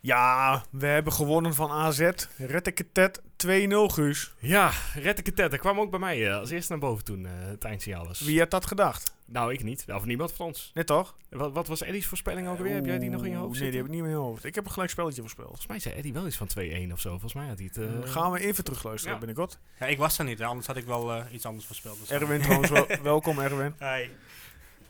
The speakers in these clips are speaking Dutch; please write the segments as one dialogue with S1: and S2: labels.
S1: Ja, we hebben gewonnen van AZ. Reddeketet 2-0, Guus.
S2: Ja, Rettiketet, dat kwam ook bij mij eh, als eerste naar boven toen eh het eindsignaal was.
S1: Wie had dat gedacht?
S2: Nou, ik niet. Of niemand van ons.
S1: Net toch?
S2: Wat, wat was Eddie's voorspelling ook weer? Heb jij die nog in je hoofd
S1: Nee, die
S2: zitten?
S1: heb ik niet meer in mijn hoofd. Ik heb een gelijk spelletje voorspeld.
S2: Volgens mij zei Eddie wel iets van 2-1 of zo. Volgens mij had hij het... eh,
S1: Gaan we even terugluisteren
S2: ja.
S1: binnenkort.
S3: Ja, ik was er niet, hè, anders had ik wel eh, iets anders voorspeld. Dus
S1: Erwin trouwens, wel- welkom Erwin.
S3: Hey,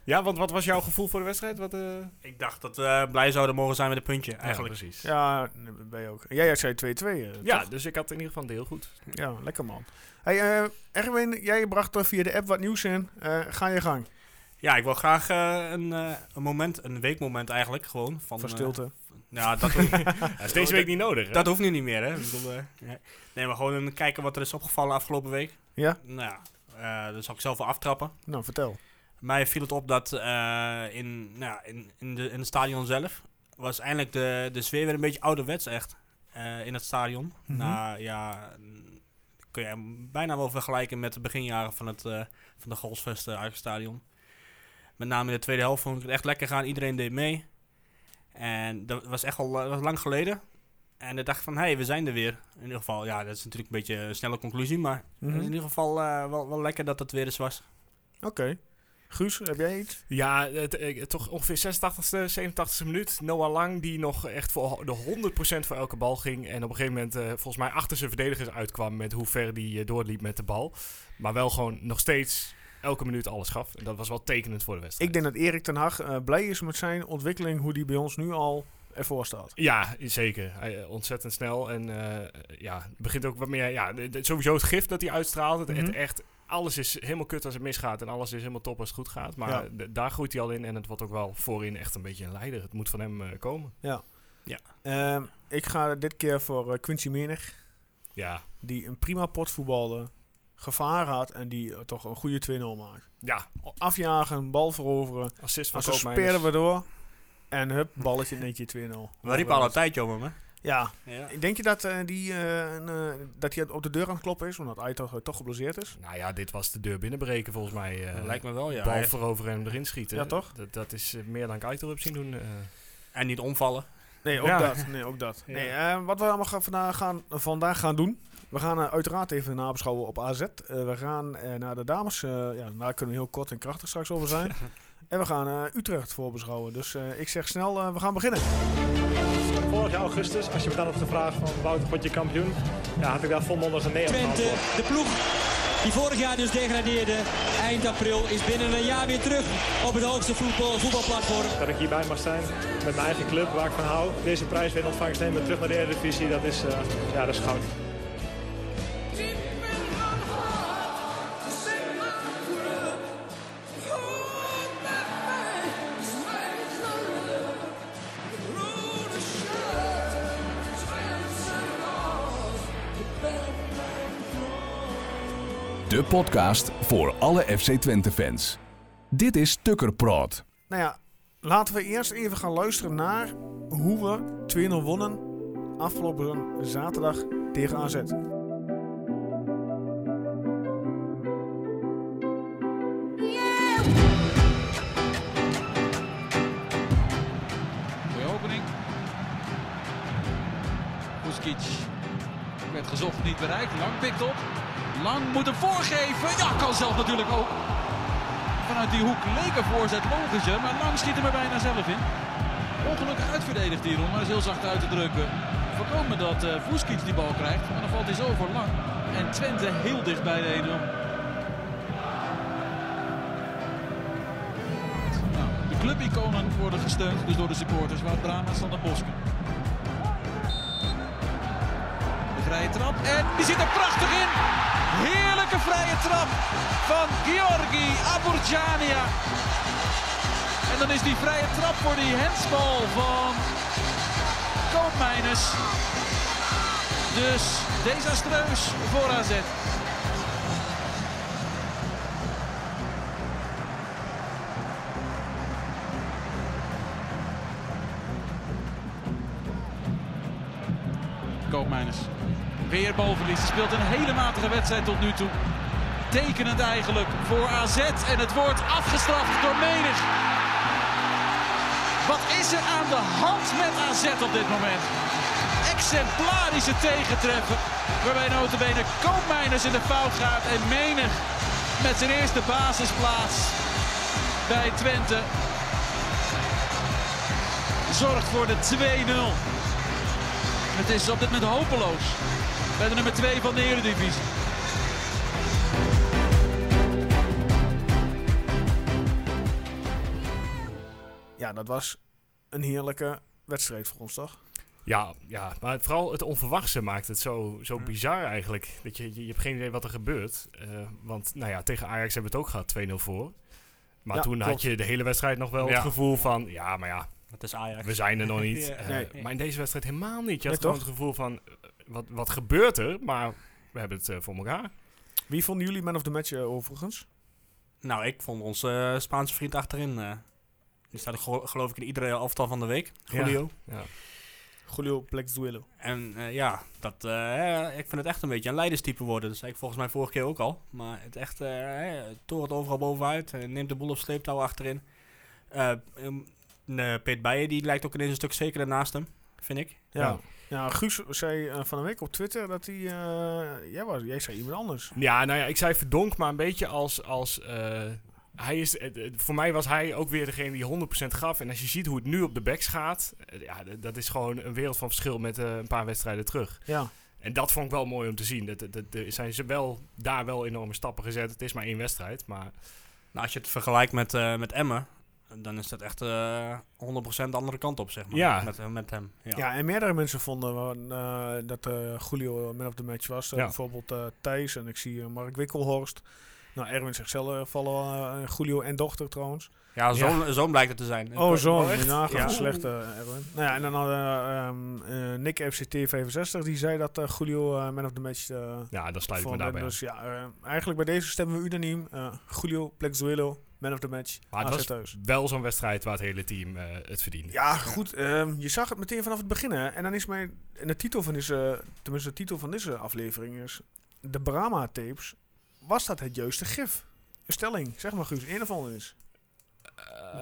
S2: Ja, want wat was jouw gevoel voor de wedstrijd? Wat, eh,
S3: ik dacht dat we blij zouden mogen zijn met een puntje, eigenlijk.
S2: Ja, precies. Ja.
S1: Ja, nee, ben je ook. Jij zei 2-2. eh, toch?
S2: dus ik had in ieder geval een deel goed.
S1: ja, lekker man. Hey, eh, Erwin, jij bracht er via de app wat nieuws in. Eh, ga je gang.
S3: Ja, ik wil graag eh, een, eh, een moment, een weekmoment eigenlijk, gewoon. Van,
S1: Van
S3: eh,
S1: stilte.
S3: ja, dat, hoeft-
S2: Dat is deze week niet nodig, hè?
S3: dat hoeft nu niet meer, hè. Ik bedoel, eh, nee. nee, maar gewoon een kijken wat er is opgevallen afgelopen week.
S1: Ja?
S3: Nou ja, eh, daar zal ik zelf wel aftrappen.
S1: Nou, vertel.
S3: Mij viel het op dat eh, in, nou, ja, in, in, de, in het stadion zelf was eindelijk de, de sfeer weer een beetje ouderwets echt eh, in het stadion.
S1: Mhm.
S3: Nou ja, mm, kun je hem bijna wel vergelijken met de beginjaren van, het, eh, van de Golsfest uh, stadion. Met name in de tweede helft vond ik het echt lekker gaan. Iedereen deed mee. En dat was echt al eh, was lang geleden. En ik dacht van, hé, hey, we zijn er weer. In ieder geval, ja, dat is natuurlijk een beetje een snelle conclusie. Maar het is
S1: Mhm.
S3: in ieder geval eh, wel, wel lekker dat het weer eens was.
S1: Oké. Guus, heb jij iets?
S2: Ja, het, eh, toch ongeveer 86e, 87e minuut. Noah Lang, die nog echt voor de 100% voor elke bal ging. En op een gegeven moment, eh, volgens mij, achter zijn verdedigers uitkwam met hoe ver die eh, doorliep met de bal. Maar wel gewoon nog steeds elke minuut alles gaf. En dat was wel tekenend voor de wedstrijd.
S1: Ik denk dat Erik ten Hag eh, blij is met zijn ontwikkeling, hoe die bij ons nu al ervoor staat.
S2: Ja, zeker. Hij, eh, ontzettend snel. En eh, ja, het begint ook wat meer. Ja, de- de- sowieso het gif dat hij uitstraalt. Het, het
S1: Mhm.
S2: echt, alles is helemaal kut als het misgaat. En alles is helemaal top als het goed gaat. Maar
S1: Ja.
S2: d- daar groeit hij al in. En het wordt ook wel voorin echt een beetje een leider. Het moet van hem eh, komen.
S1: Ehm, ik ga dit keer voor eh, Quincy Menig,
S2: Ja.
S1: die een prima pot voetbalde, gevaar had en die eh, toch een goede 2-0 maakt.
S2: Ja,
S1: Afjagen, bal veroveren,
S2: assist van
S1: als ze
S2: Koopmeiners.
S1: speren we door en hup, balletje netje 2-0.
S3: We riepen al een tijdje om hem, hè?
S1: Ja,
S3: Ja.
S1: denk je dat eh, die, eh, een, eh, dat hij op de deur aan het kloppen is, omdat hij toch, eh, toch geblesseerd is?
S2: Nou ja, dit was de deur binnenbreken volgens mij. eh,
S3: Lijkt me wel, ja.
S2: Bal veroveren en hem erin schieten.
S1: Ja, toch?
S2: Dat, dat is eh, meer dan ik Aitor heb zien doen. eh.
S3: En niet omvallen.
S1: Nee, ook
S2: Ja.
S1: dat. Nee, ook dat.
S2: Ja.
S1: Nee, eh, wat we allemaal gaan vandaag, gaan, vandaag gaan doen. We gaan eh, uiteraard even nabeschouwen op AZ. Eh, we gaan eh, naar de dames. eh, ja, daar kunnen we heel kort en krachtig straks over zijn. en we gaan eh, Utrecht voorbeschouwen. Dus eh, ik zeg snel, eh, we gaan beginnen.
S4: Vorig jaar augustus, als je me dan had gevraagd van Wouter, word je kampioen? Ja, had ik daar volmondig een nee op
S5: Twente,
S4: geantwoord.
S5: de ploeg die vorig jaar dus degradeerde, eind april is binnen een jaar weer terug op het hoogste voetbal, voetbalplatform.
S4: Dat ik hierbij mag zijn met mijn eigen club, waar ik van hou. Deze prijs weer in ontvangst nemen, terug naar de Eredivisie, dat is, eh, ja, dat is goud.
S6: De podcast voor alle FC Twente fans. Dit is Tukker Praat.
S1: Nou ja, laten we eerst even gaan luisteren naar hoe we 2-0 wonnen afgelopen zaterdag tegen AZ.
S7: Mooie opening. Kuskic werd gezocht, niet bereikt. Lang pikt op. Lang moet hem voorgeven. Ja, kan zelf natuurlijk ook. Vanuit die hoek leek een voorzet logischer, maar Lang schiet hem er bijna zelf in. Ongelukkig uitverdedigd hierom, maar is heel zacht uit te drukken. Voorkomen dat eh Vuskic die bal krijgt, maar dan valt hij zo voor Lang. En Twente heel dicht bij de 1 Nou, de clubiconen worden gesteund dus door de supporters, waar Brahma staat en Boske. De vrije trap en die zit er prachtig in. Heerlijke vrije trap van Giorgi Aburjania. En dan is die vrije trap voor die handsbal van Koopmeiners. Dus desastreus voor AZ. Koopmeiners. Weer balverlies. Hij speelt een hele matige wedstrijd tot nu toe. Tekenend eigenlijk voor AZ. En het wordt afgestraft door Menig. Wat is er aan de hand met AZ op dit moment? Exemplarische tegentreffen. Waarbij notabene Koopmeiners in de fout gaat. En menig met zijn eerste basisplaats bij Twente. Zorgt voor de 2-0. Het is op dit moment hopeloos. Bij de nummer 2 van de Eredivisie.
S1: Ja, dat was een heerlijke wedstrijd voor ons, toch?
S2: Ja, ja, maar vooral het onverwachte maakt het zo, zo bizar eigenlijk. Dat je, je, je hebt geen idee wat er gebeurt. Eh, want nou ja, tegen Ajax hebben we het ook gehad, 2-0 voor. Maar
S1: Ja,
S2: toen had
S1: klopt.
S2: je de hele wedstrijd nog wel
S3: Ja.
S2: het gevoel van... Ja, maar ja,
S3: Het is Ajax.
S2: we zijn er nog niet.
S3: Ja.
S2: Eh,
S1: Nee.
S2: Maar in deze wedstrijd helemaal niet. Je had
S1: Nee,
S2: gewoon
S1: toch?
S2: het gevoel van... eh, Wat, wat gebeurt er? Maar we hebben het eh, voor elkaar.
S1: Wie vonden jullie man of the match eh, overigens?
S3: Nou, ik vond onze eh, Spaanse vriend achterin. eh, die staat gelo- geloof ik in iedere elftal van de week. Julio.
S2: Ja.
S1: Julio Plexduelo.
S3: En eh, ja, dat, eh, ik vind het echt een beetje een leiderstype worden. Dat zei ik volgens mij vorige keer ook al. Maar het echt, eh eh, torent overal bovenuit. eh, neemt de boel op sleeptouw achterin. Eh um, eh, Peet Beijer, die lijkt ook ineens een stuk zekerder naast hem, vind ik.
S1: Ja. ja. Guus zei eh, van een week op Twitter dat hij... eh, jij, was, jij zei iemand anders.
S2: Ja, nou ja, ik zei verdonk, maar een beetje als. als eh, hij is, eh, eh, voor mij was hij ook weer degene die 100% gaf. En als je ziet hoe het nu op de backs gaat, eh, ja, d- dat is gewoon een wereld van verschil met eh, een paar wedstrijden terug.
S1: Ja.
S2: En dat vond ik wel mooi om te zien. Dat, dat, dat- er zijn ze wel daar wel enorme stappen gezet. Het is maar één wedstrijd, maar
S3: Nou, als je het vergelijkt met, eh, met Emmen, dan is dat echt eh 100% de andere kant op, zeg maar.
S2: Ja.
S3: Met, eh, met hem. Ja.
S1: Ja. en meerdere mensen vonden eh, dat eh, Julio man of the match was. Eh,
S2: Ja.
S1: Bijvoorbeeld eh, Thijs en ik zie eh, Mark Wikkelhorst. Nou, Erwin zegt zelf vallen eh, Julio en dochter trouwens.
S3: Ja, zo'n zo'n blijkt het te zijn.
S1: Oh, zo.
S3: echt?
S1: Ja,
S3: Ja.
S1: ja. slecht, eh, Erwin. Nou ja, en dan hadden eh, ehm, eh, Nick FCT65, die zei dat eh, Julio eh, man of the match eh
S2: ja, dan sluit ik
S1: vond.
S2: me
S1: En
S2: daarbij. aan.
S1: Dus ja, eh, eigenlijk bij deze stemmen we unaniem. eh, Julio Plexuelo, man of the match,
S2: Maar het
S1: AZ
S2: was
S1: thuis.
S2: wel zo'n wedstrijd waar het hele team eh, het verdient.
S1: Ja, goed. ehm, je zag het meteen vanaf het begin. Hè? En dan is mijn. En de titel van deze. Tenminste, de titel van deze aflevering is. De Brahma tapes. Was dat het juiste gif? Een stelling, zeg maar, Guus. Een of ander is.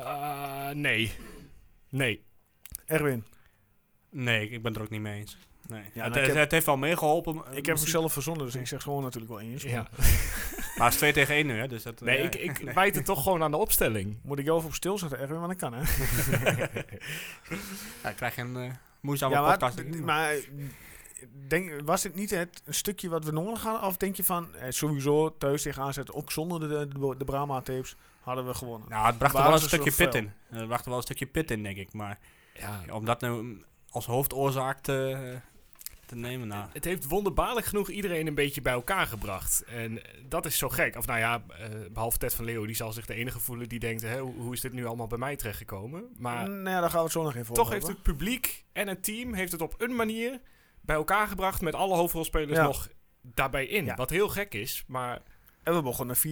S2: Eh, nee. Nee.
S1: Erwin,
S3: Nee, ik- ik ben het er ook niet mee eens. Nee.
S1: Ja,
S3: het,
S1: nou, ik
S3: het-
S1: heb-
S3: het heeft wel meegeholpen. eh,
S1: ik heb
S3: misschien.
S1: hem zelf verzonnen, dus ik zeg gewoon natuurlijk wel eens.
S2: Ja.
S3: Maar het is 2 tegen 1 nu, hè? Dus dat,
S2: Nee,
S3: eh,
S2: ik, ik wijd het toch gewoon aan de opstelling.
S1: Moet ik jou even op stil zetten, Erwin? Want dat kan,
S3: Nou,
S1: hè?
S3: Ja, ik krijg een eh, moeizame
S1: maar,
S3: podcast.
S1: d- maar eh, denk, was dit niet het een stukje wat we nog gaan? Of denk je van, eh, sowieso thuis tegen aanzetten, ook zonder de, de, de Brahma tapes, hadden we gewonnen?
S3: nou, het bracht er
S1: Waren
S3: wel een
S1: ze
S3: stukje
S1: zo
S3: pit
S1: fel?
S3: in. Eh, Het bracht er wel een stukje pit in, denk ik. Maar
S2: Ja,
S3: ja, om dat nou mm, als hoofdoorzaak te, eh, te nemen, nou...
S2: Het heeft wonderbaarlijk genoeg iedereen een beetje bij elkaar gebracht. En dat is zo gek. Of nou ja, eh, behalve Ted van Leeuw, die zal zich de enige voelen die denkt: hè, hoe, hoe is dit nu allemaal bij mij terechtgekomen? Maar
S1: nou ja, daar gaan we het zo nog even over
S2: toch heeft
S1: hebben.
S2: het publiek en het team heeft het op een manier bij elkaar gebracht met alle hoofdrolspelers
S1: Ja.
S2: nog daarbij in.
S1: Ja.
S2: Wat heel gek is, maar
S1: En we begonnen 4-3-3,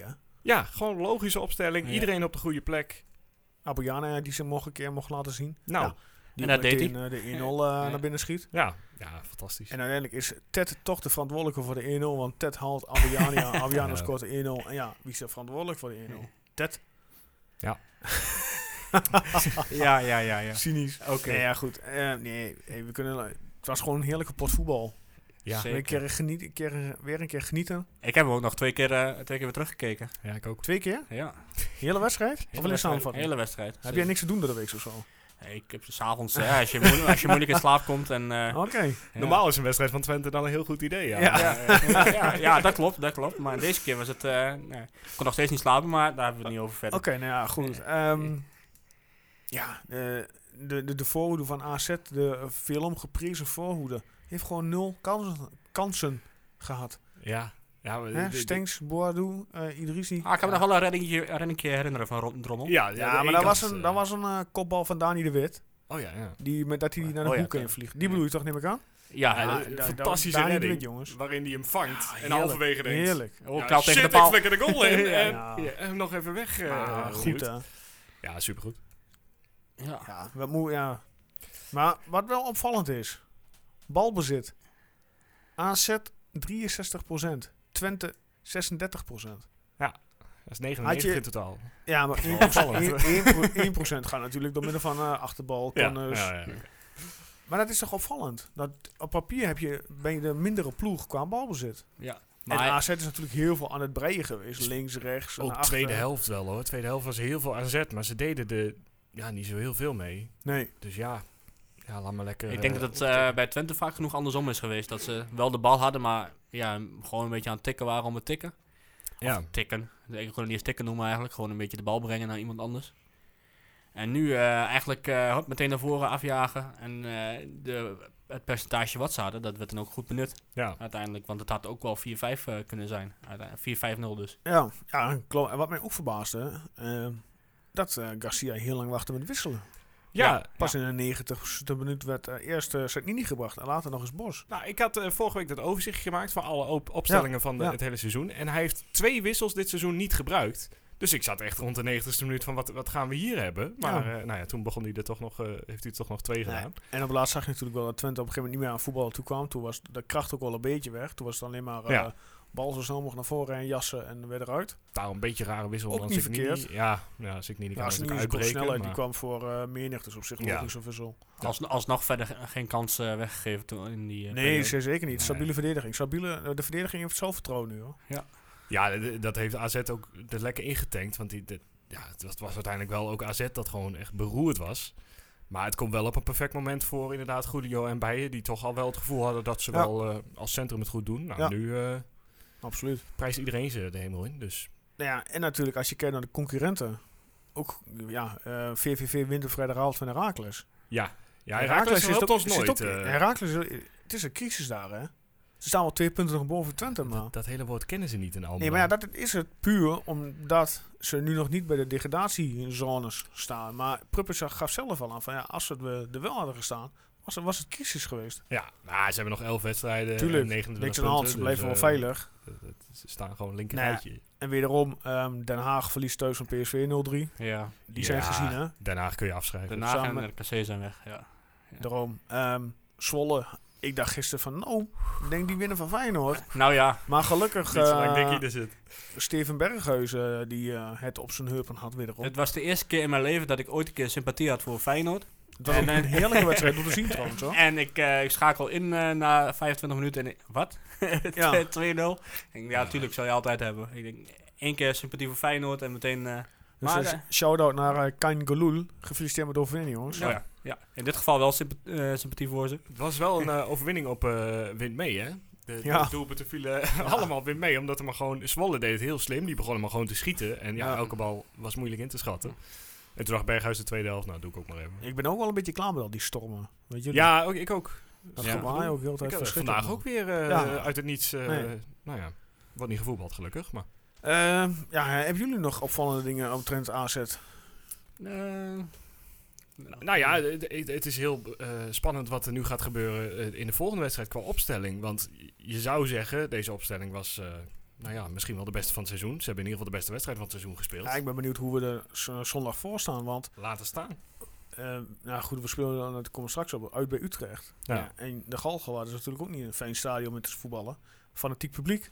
S1: hè?
S2: ja, gewoon logische opstelling.
S3: Ja.
S2: Iedereen op de goede plek.
S1: Abuyana die ze nog een keer mocht laten zien.
S2: Nou,
S1: Ja. Die
S3: En dat deed
S1: meteen, eh, de 1-0 eh, naar binnen schiet.
S2: ja, ja, fantastisch.
S1: En uiteindelijk is Ted toch de verantwoordelijke voor de 1-0. Want Ted haalt Abuyana. Abuyana
S2: Ja.
S1: scoort de 1-0. En ja, wie is er verantwoordelijk voor de 1-0? Ted.
S2: Ja.
S3: Ja, ja, ja, ja.
S1: Cynisch. Oké. Nee, ja, goed. Eh, nee, hey, we kunnen... Het was gewoon een heerlijke pot voetbal.
S2: ja.
S3: Zeker.
S1: Een keer geniet, een keer, weer een keer genieten.
S3: Ik heb hem ook nog twee keer, eh, twee keer weer teruggekeken.
S2: ja, ik ook.
S1: Twee keer?
S3: Ja.
S1: Hele wedstrijd? Of
S3: Hele
S1: alleen een
S3: wedstrijd-
S1: samenvatting?
S3: Hele wedstrijd.
S1: Heb jij niks te doen door de week of zo?
S3: Nee, Ik heb s'avonds... ja, als, je moeilijk- als je moeilijk in slaap komt en... eh,
S1: Oké.
S3: ja.
S2: Oh, Normaal is een wedstrijd van Twente dan een heel goed idee. Ja.
S3: Ja, ja, ja, ja, dat klopt, dat klopt. Maar deze keer was het... eh, nee. Ik kon nog steeds niet slapen, maar daar hebben we het niet over verder.
S1: Oké, nou ja, goed. Ehm, ja, eh, de, de, de voorhoede van AZ, de film geprezen voorhoede, heeft gewoon nul kansen, kansen gehad.
S2: ja. Ja, we-
S1: Hè?
S2: Eh, de- de-
S1: Stenks, Boadou, eh Idrissi.
S3: Ah, ik kan me nog wel een reddingje, een reddingje herinneren van Ro- Drommel.
S2: Ja,
S1: ja, maar dat was een, dat was een eh, kopbal van Dani de Wit.
S2: Oh ja, ja.
S1: Die, met, dat hij die naar de
S3: Oh ja,
S1: hoek in
S3: dat-
S1: vliegt. Die bedoel je toch, neem ik aan?
S3: Ja,
S2: Ja,
S3: ja,
S2: een
S1: da-
S2: fantastische
S1: Dani de
S2: redding.
S1: Wit, jongens.
S2: Waarin hij hem vangt en
S3: Ah,
S1: heerlijk,
S2: halverwege denkt...
S1: Heerlijk.
S3: ook
S2: ja,
S3: knal
S2: shit,
S3: Oh, tegen de
S2: ik
S3: paal.
S2: flikker de goal in.
S1: Ja.
S2: en,
S1: Ja.
S2: ja, hem nog even weg. eh,
S1: Maar goed,
S2: geduwd.
S1: hè.
S2: Ja, supergoed.
S3: Ja.
S1: Ja, wat moe, ja. Maar wat wel opvallend is, balbezit. AZ 63%, Twente 36%.
S2: Dat is 99
S1: Had
S2: in totaal.
S1: Ja, maar 1%,
S2: opvallend.
S1: 1 gaat natuurlijk door middel van eh, achterbal,
S2: Ja,
S1: corners.
S2: ja, ja.
S1: Maar dat is toch opvallend? Dat op papier heb je, ben je de mindere ploeg qua balbezit.
S3: Ja.
S1: en
S3: Maar
S1: AZ is natuurlijk heel veel aan het breien geweest. Links, rechts,
S2: Ook
S1: naar achter.
S2: tweede helft wel hoor. Tweede helft was heel veel AZ, maar ze deden er ja, niet zo heel veel mee.
S1: Nee,
S2: Dus ja, ja laat maar lekker.
S3: ik denk
S2: eh,
S3: dat het eh, bij Twente vaak genoeg andersom is geweest. Dat ze wel de bal hadden, maar ja, gewoon een beetje aan het tikken waren om het tikken.
S2: ja.
S3: tikken. Ik kon het niet eens tikken noemen eigenlijk. Gewoon een beetje de bal brengen naar iemand anders. En nu eh, eigenlijk eh, hop, meteen naar voren afjagen. En eh, de, het percentage wat ze hadden, dat werd dan ook goed benut
S2: ja.
S3: uiteindelijk. Want het had ook wel 4-5 eh, kunnen zijn. Uiteindelijk 4-5-0 dus.
S1: ja, ja klopt. En wat mij ook verbaasde, eh, dat eh, Garcia heel lang wachtte met wisselen.
S2: Ja,
S1: Pas in de 90ste minuut werd eh, eerst uh, Sagnini gebracht en later nog eens Bos.
S2: Nou, ik had eh, vorige week dat overzichtje gemaakt van alle op- opstellingen van de-
S1: ja.
S2: het hele seizoen. En hij heeft twee wissels dit seizoen niet gebruikt. Dus ik zat echt rond de 90ste minuut van wat, wat gaan we hier hebben. Maar eh, nou ja, toen begon hij er toch nog, eh, heeft hij er toch nog twee gedaan.
S1: En op het laatst zag je natuurlijk wel dat Twente op een gegeven moment niet meer aan voetballen toe kwam. Toen was de kracht ook wel een beetje weg. Toen was het alleen maar eh,
S2: Ja.
S1: bal zo snel mogelijk naar voren en jassen en weer eruit.
S2: Daar een beetje rare wissel.
S1: Ook
S2: want
S1: niet
S2: Signini-
S1: verkeerd.
S2: Ja, ja, als ik niet
S1: Ja,
S2: kan
S1: als
S2: natuurlijk
S1: nu is
S2: uitbreken.
S1: snelheid die
S2: maar-
S1: kwam voor eh menig, dus op zich
S2: Ja.
S1: logisch een wissel.
S2: Ja.
S3: Als, alsnog verder ge- geen kans eh, weggegeven toen in die. eh,
S1: Nee,
S3: periode.
S1: zeer zeker niet. Stabiele
S2: Nee.
S1: verdediging. Stabiele, eh, de verdediging heeft zelfvertrouwen nu hoor.
S2: Ja, d- dat heeft AZ ook er lekker ingetankt. Want die, dit- ja, het was, het was uiteindelijk wel ook AZ dat gewoon echt beroerd was. Maar het komt wel op een perfect moment voor inderdaad Julio en Bijen. Die toch al wel het gevoel hadden dat ze
S1: Ja.
S2: wel eh, als centrum het goed doen. Nou,
S1: Ja.
S2: nu eh,
S1: Absoluut.
S2: prijst iedereen ze de hemel in. Dus
S1: Nou ja, en natuurlijk als je kijkt naar de concurrenten. Ook, ja, eh, VVV wint op vrijdagavond van Herakles.
S2: ja, ja Herakles
S1: is
S2: helpt
S1: ook-
S2: ons
S1: zit
S2: nooit.
S1: ook-
S2: eh,
S1: Heracles is- het is een crisis daar hè. Ze staan wel twee punten nog boven Twente, maar...
S2: dat, dat hele woord kennen ze niet in Almelo.
S1: Nee, maar ja, dat is het puur omdat ze nu nog niet bij de degradatiezones staan. Maar Prupper gaf zelf al aan van ja, als ze het, eh, er wel hadden gestaan, was, het- was het crisis geweest.
S2: Ja, maar ze hebben nog elf wedstrijden.
S1: Tuurlijk,
S2: en 29
S1: Niks aan de hand, ze
S2: punten,
S1: blijven wel
S2: dus, eh,
S1: veilig.
S2: dat- dat- Ze staan gewoon linker
S1: Nou ja,
S2: rijtje.
S1: En wederom, ehm, Den Haag verliest thuis van PSV 0-3.
S3: Ja.
S1: Die zijn
S2: Ja,
S1: gezien, hè?
S2: Daarna kun je afschrijven.
S3: Daarna
S1: Samen-
S3: en RKC zijn weg. Ja.
S1: Daarom. ehm, Zwolle. Ik dacht gisteren van, nou, ik denk die winnen van Feyenoord.
S3: Nou ja,
S1: Maar gelukkig,
S2: Niet zolang
S1: eh,
S2: Dickie er zit.
S1: Steven Berghuizen, eh, die eh, het op zijn heupen had wederom.
S3: het was de eerste keer in mijn leven dat ik ooit een keer sympathie had voor Feyenoord.
S1: dat was
S3: en,
S1: een
S3: eh,
S1: heerlijke wedstrijd om te zien trouwens, hoor.
S3: En ik, eh, ik schakel in eh, na 25 minuten en ik- wat?
S1: Ja.
S3: 2-0. Ik denk, ja, natuurlijk zal je altijd hebben. Ik denk, één keer sympathie voor Feyenoord en meteen... eh,
S1: Dus
S3: maar,
S1: een
S3: eh,
S1: shout-out naar eh, Kain Galul. Gefeliciteerd met de overwinning, jongens.
S3: nou ja. ja, in dit geval wel sympa- eh, sympathie voor ze.
S2: Het was wel een eh, overwinning op eh Wind mee, hè? De,
S1: Ja.
S2: de doelpunten vielen allemaal op Wind mee, omdat er maar gewoon... Zwolle deed het heel slim, die begonnen maar gewoon te schieten. En ja,
S1: Ja.
S2: elke bal was moeilijk in te schatten. En toen dacht Berghuis de tweede helft, nou doe ik ook maar even.
S1: Ik ben ook wel een beetje klaar met al die stormen. Weet je,
S2: Ja, ook, ik ook.
S1: dat
S2: ja.
S1: gebaar ook heel de
S2: Ik
S1: tijd
S2: had
S1: verschrikkelijk.
S2: vandaag ook weer eh,
S1: Ja.
S2: uit het niets... eh,
S1: Nee.
S2: Nou ja, wat niet gevoetbald gelukkig, maar...
S1: Ehm, ja, hebben jullie nog opvallende dingen omtrent AZ?
S2: Nou ja, het- het het is heel eh, spannend wat er nu gaat gebeuren eh, in de volgende wedstrijd qua opstelling. Want je zou zeggen, deze opstelling was eh, nou ja, misschien wel de beste van het seizoen. Ze hebben in ieder geval de beste wedstrijd van het seizoen gespeeld.
S1: Ja, ik ben benieuwd hoe we er z- zondag voor staan, want...
S2: Laten staan.
S1: Eh, nou goed, we spelen dan, dat komen we straks op, uit bij Utrecht.
S2: Ja.
S1: Ja. en de Galgenwaard is natuurlijk ook niet een fijn stadion met te voetballen. Fanatiek publiek.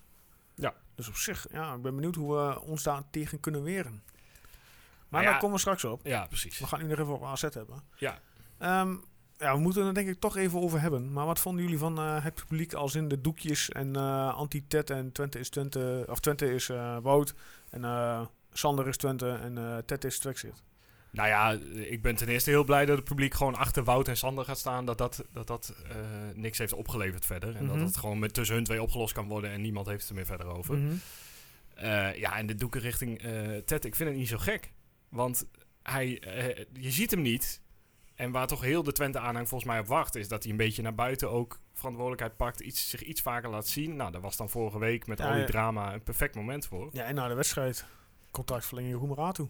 S2: Ja.
S1: Dus op zich, ja, ik ben benieuwd hoe we ons daar tegen kunnen weren. Maar
S2: Nou ja.
S1: daar komen we straks op.
S2: Ja, precies.
S1: We gaan nu nog even op AZ hebben.
S2: Ja.
S1: Ehm, ja, we moeten het er denk ik toch even over hebben. Maar wat vonden jullie van eh, het publiek als in de doekjes en eh anti-Ted en Twente is Twente, of Twente is eh Wout en eh, Sander is Twente en eh Ted is Twexit.
S2: Nou ja, ik ben ten eerste heel blij dat het publiek gewoon achter Wout en Sander gaat staan. Dat dat, dat, dat eh, niks heeft opgeleverd verder. En
S1: Mhm.
S2: dat het gewoon met tussen hun twee opgelost kan worden en niemand heeft het er meer verder over. Eh, ja, en de doeken richting eh, Ted, ik vind het niet zo gek. Want hij, eh, je ziet hem niet. En waar toch heel de Twente-aanhang volgens mij op wacht... is dat hij een beetje naar buiten ook verantwoordelijkheid pakt. Iets, zich iets vaker laat zien. Nou, daar was dan vorige week met
S1: Ja,
S2: al die
S1: ja.
S2: drama een perfect moment voor.
S1: Ja, en na de wedstrijd contractverlenging Roemeratu.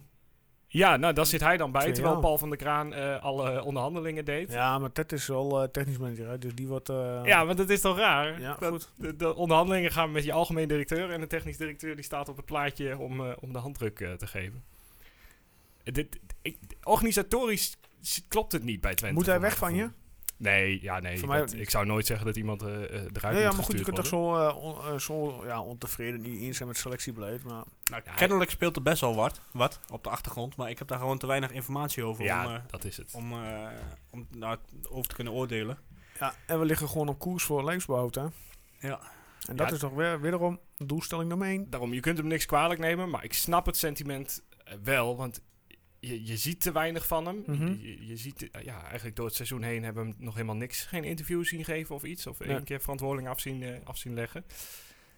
S2: Ja, nou, daar zit hij dan bij.
S1: Twee
S2: Terwijl
S1: jaar.
S2: Paul van der Kraan eh, alle onderhandelingen deed. Ja.
S1: Ja, maar Ted is wel eh, technisch manager, hè, dus die wordt... eh,
S2: want dat is toch raar?
S1: Ja,
S2: Dat-
S1: goed.
S2: De, de onderhandelingen gaan met je algemeen directeur en de technisch directeur die staat op het plaatje om, eh, om de handdruk eh, te geven. Eh, Dit, ik, organisatorisch s- klopt het niet bij Twente.
S1: Moet hij
S2: voor
S1: weg
S2: mijn
S1: van je?
S2: gevoel. Nee, ja, nee.
S1: Voor mij
S2: dat-
S1: ook niet.
S2: ik zou nooit zeggen dat iemand eh, eh, eruit
S1: Nee, ja,
S2: moet
S1: maar goed, je
S2: gestuurd
S1: kunt toch
S2: worden.
S1: zo, eh, on- eh, zo ja, ontevreden niet eens zijn met selectiebeleid. Maar
S3: Nou, kennelijk speelt er best wel wat, wat op de achtergrond, maar ik heb daar gewoon te weinig informatie over om,
S2: Ja,
S3: eh,
S2: dat is het.
S3: om, eh, om daar over te kunnen oordelen.
S1: ja, en we liggen gewoon op koers voor lijfsbehoud, hè.
S3: Ja.
S1: En dat
S2: Ja,
S1: is toch weer, wederom doelstelling nummer één.
S2: Daarom, je kunt hem niks kwalijk nemen, maar ik snap het sentiment eh, wel, want je, je ziet te weinig van hem.
S1: Mhm.
S2: je, je ziet, eh, ja, eigenlijk door het seizoen heen hebben we hem nog helemaal niks, geen interviews zien geven of iets, of
S1: Nee.
S2: één keer verantwoording afzien, eh, afzien leggen.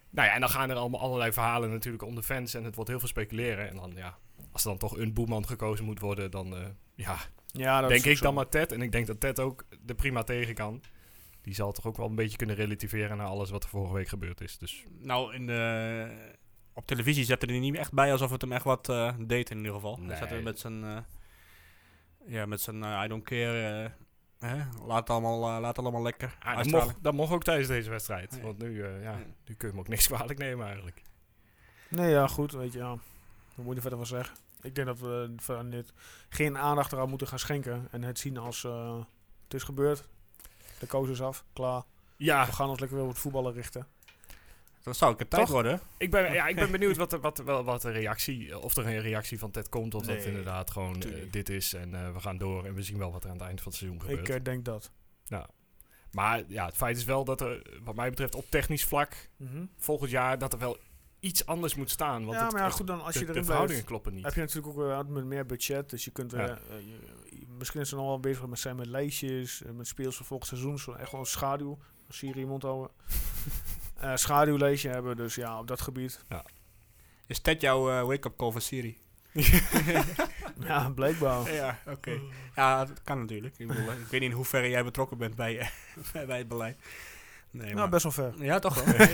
S2: Nou ja, en dan gaan er allemaal allerlei verhalen natuurlijk om de fans en het wordt heel veel speculeren. En dan, ja, als er dan toch een boeman gekozen moet worden, dan, eh, ja,
S1: Ja, dat
S2: denk
S1: is ook
S2: ik
S1: zo.
S2: dan maar Ted. En ik denk dat Ted ook er prima tegen kan. Die zal toch ook wel een beetje kunnen relativeren naar alles wat er vorige week gebeurd is. Dus
S3: Nou, in de, op televisie zette hij er niet echt bij alsof het hem echt wat eh, deed in ieder geval. Hij
S2: Nee.
S3: zat er met zijn, eh, ja, met zijn eh, I don't care, eh, hè? Laat, het allemaal, eh, laat het allemaal lekker
S2: Ah, dat,
S3: uitstralen.
S2: mocht, dat mocht ook tijdens deze wedstrijd.
S3: Nee.
S2: Want nu, eh, ja,
S3: Nee.
S2: nu kun je hem ook niks kwalijk nemen eigenlijk.
S1: Nee, ja, goed, weet je, ja. Daar moet je verder van zeggen. Ik denk dat we van dit geen aandacht eraan moeten gaan schenken. En het zien als eh, het is gebeurd. De koos is af, klaar.
S2: Ja,
S1: We gaan ons lekker weer op het voetballen richten.
S3: Dat zou ik het tijd
S2: Toch?
S3: worden.
S2: ik ben, ja, ik ben benieuwd wat, de- wat, de- wel- wat de reactie, eh, of er een reactie van Ted komt. Of dat
S1: Nee,
S2: inderdaad gewoon eh,
S1: tuurlijk.
S2: dit is en eh, we gaan door en we zien wel wat er aan het eind van het seizoen gebeurt.
S1: Ik eh, denk dat.
S2: maar ja, het feit is wel dat er, wat mij betreft, op technisch vlak
S1: Mhm.
S2: volgend jaar dat er wel iets anders moet staan. Want
S1: Ja,
S2: het-
S1: maar ja,
S2: het-
S1: goed, dan als
S2: de,
S1: je
S2: de
S1: erin
S2: verhoudingen
S1: blijft,
S2: kloppen niet.
S1: heb je natuurlijk ook weer met meer budget. Dus je kunt weer,
S2: Ja.
S1: eh, je- misschien is ze nog wel bezig met zijn met lijstjes, eh, met speels voor volgend seizoen. Zo, echt wel een schaduw. Syrië mond houden. Eh, schaduwlijstje hebben, dus ja, op dat gebied.
S3: Is Ted jouw eh, wake-up call van Siri?
S1: Ja, blijkbaar.
S3: Ja, oké. Ja, dat kan natuurlijk. Ik, bedoel, eh, ik weet niet in hoeverre jij betrokken bent bij, eh, bij- bij het beleid. Nee,
S1: nou,
S3: maar-
S1: best wel ver.
S3: Ja, toch wel.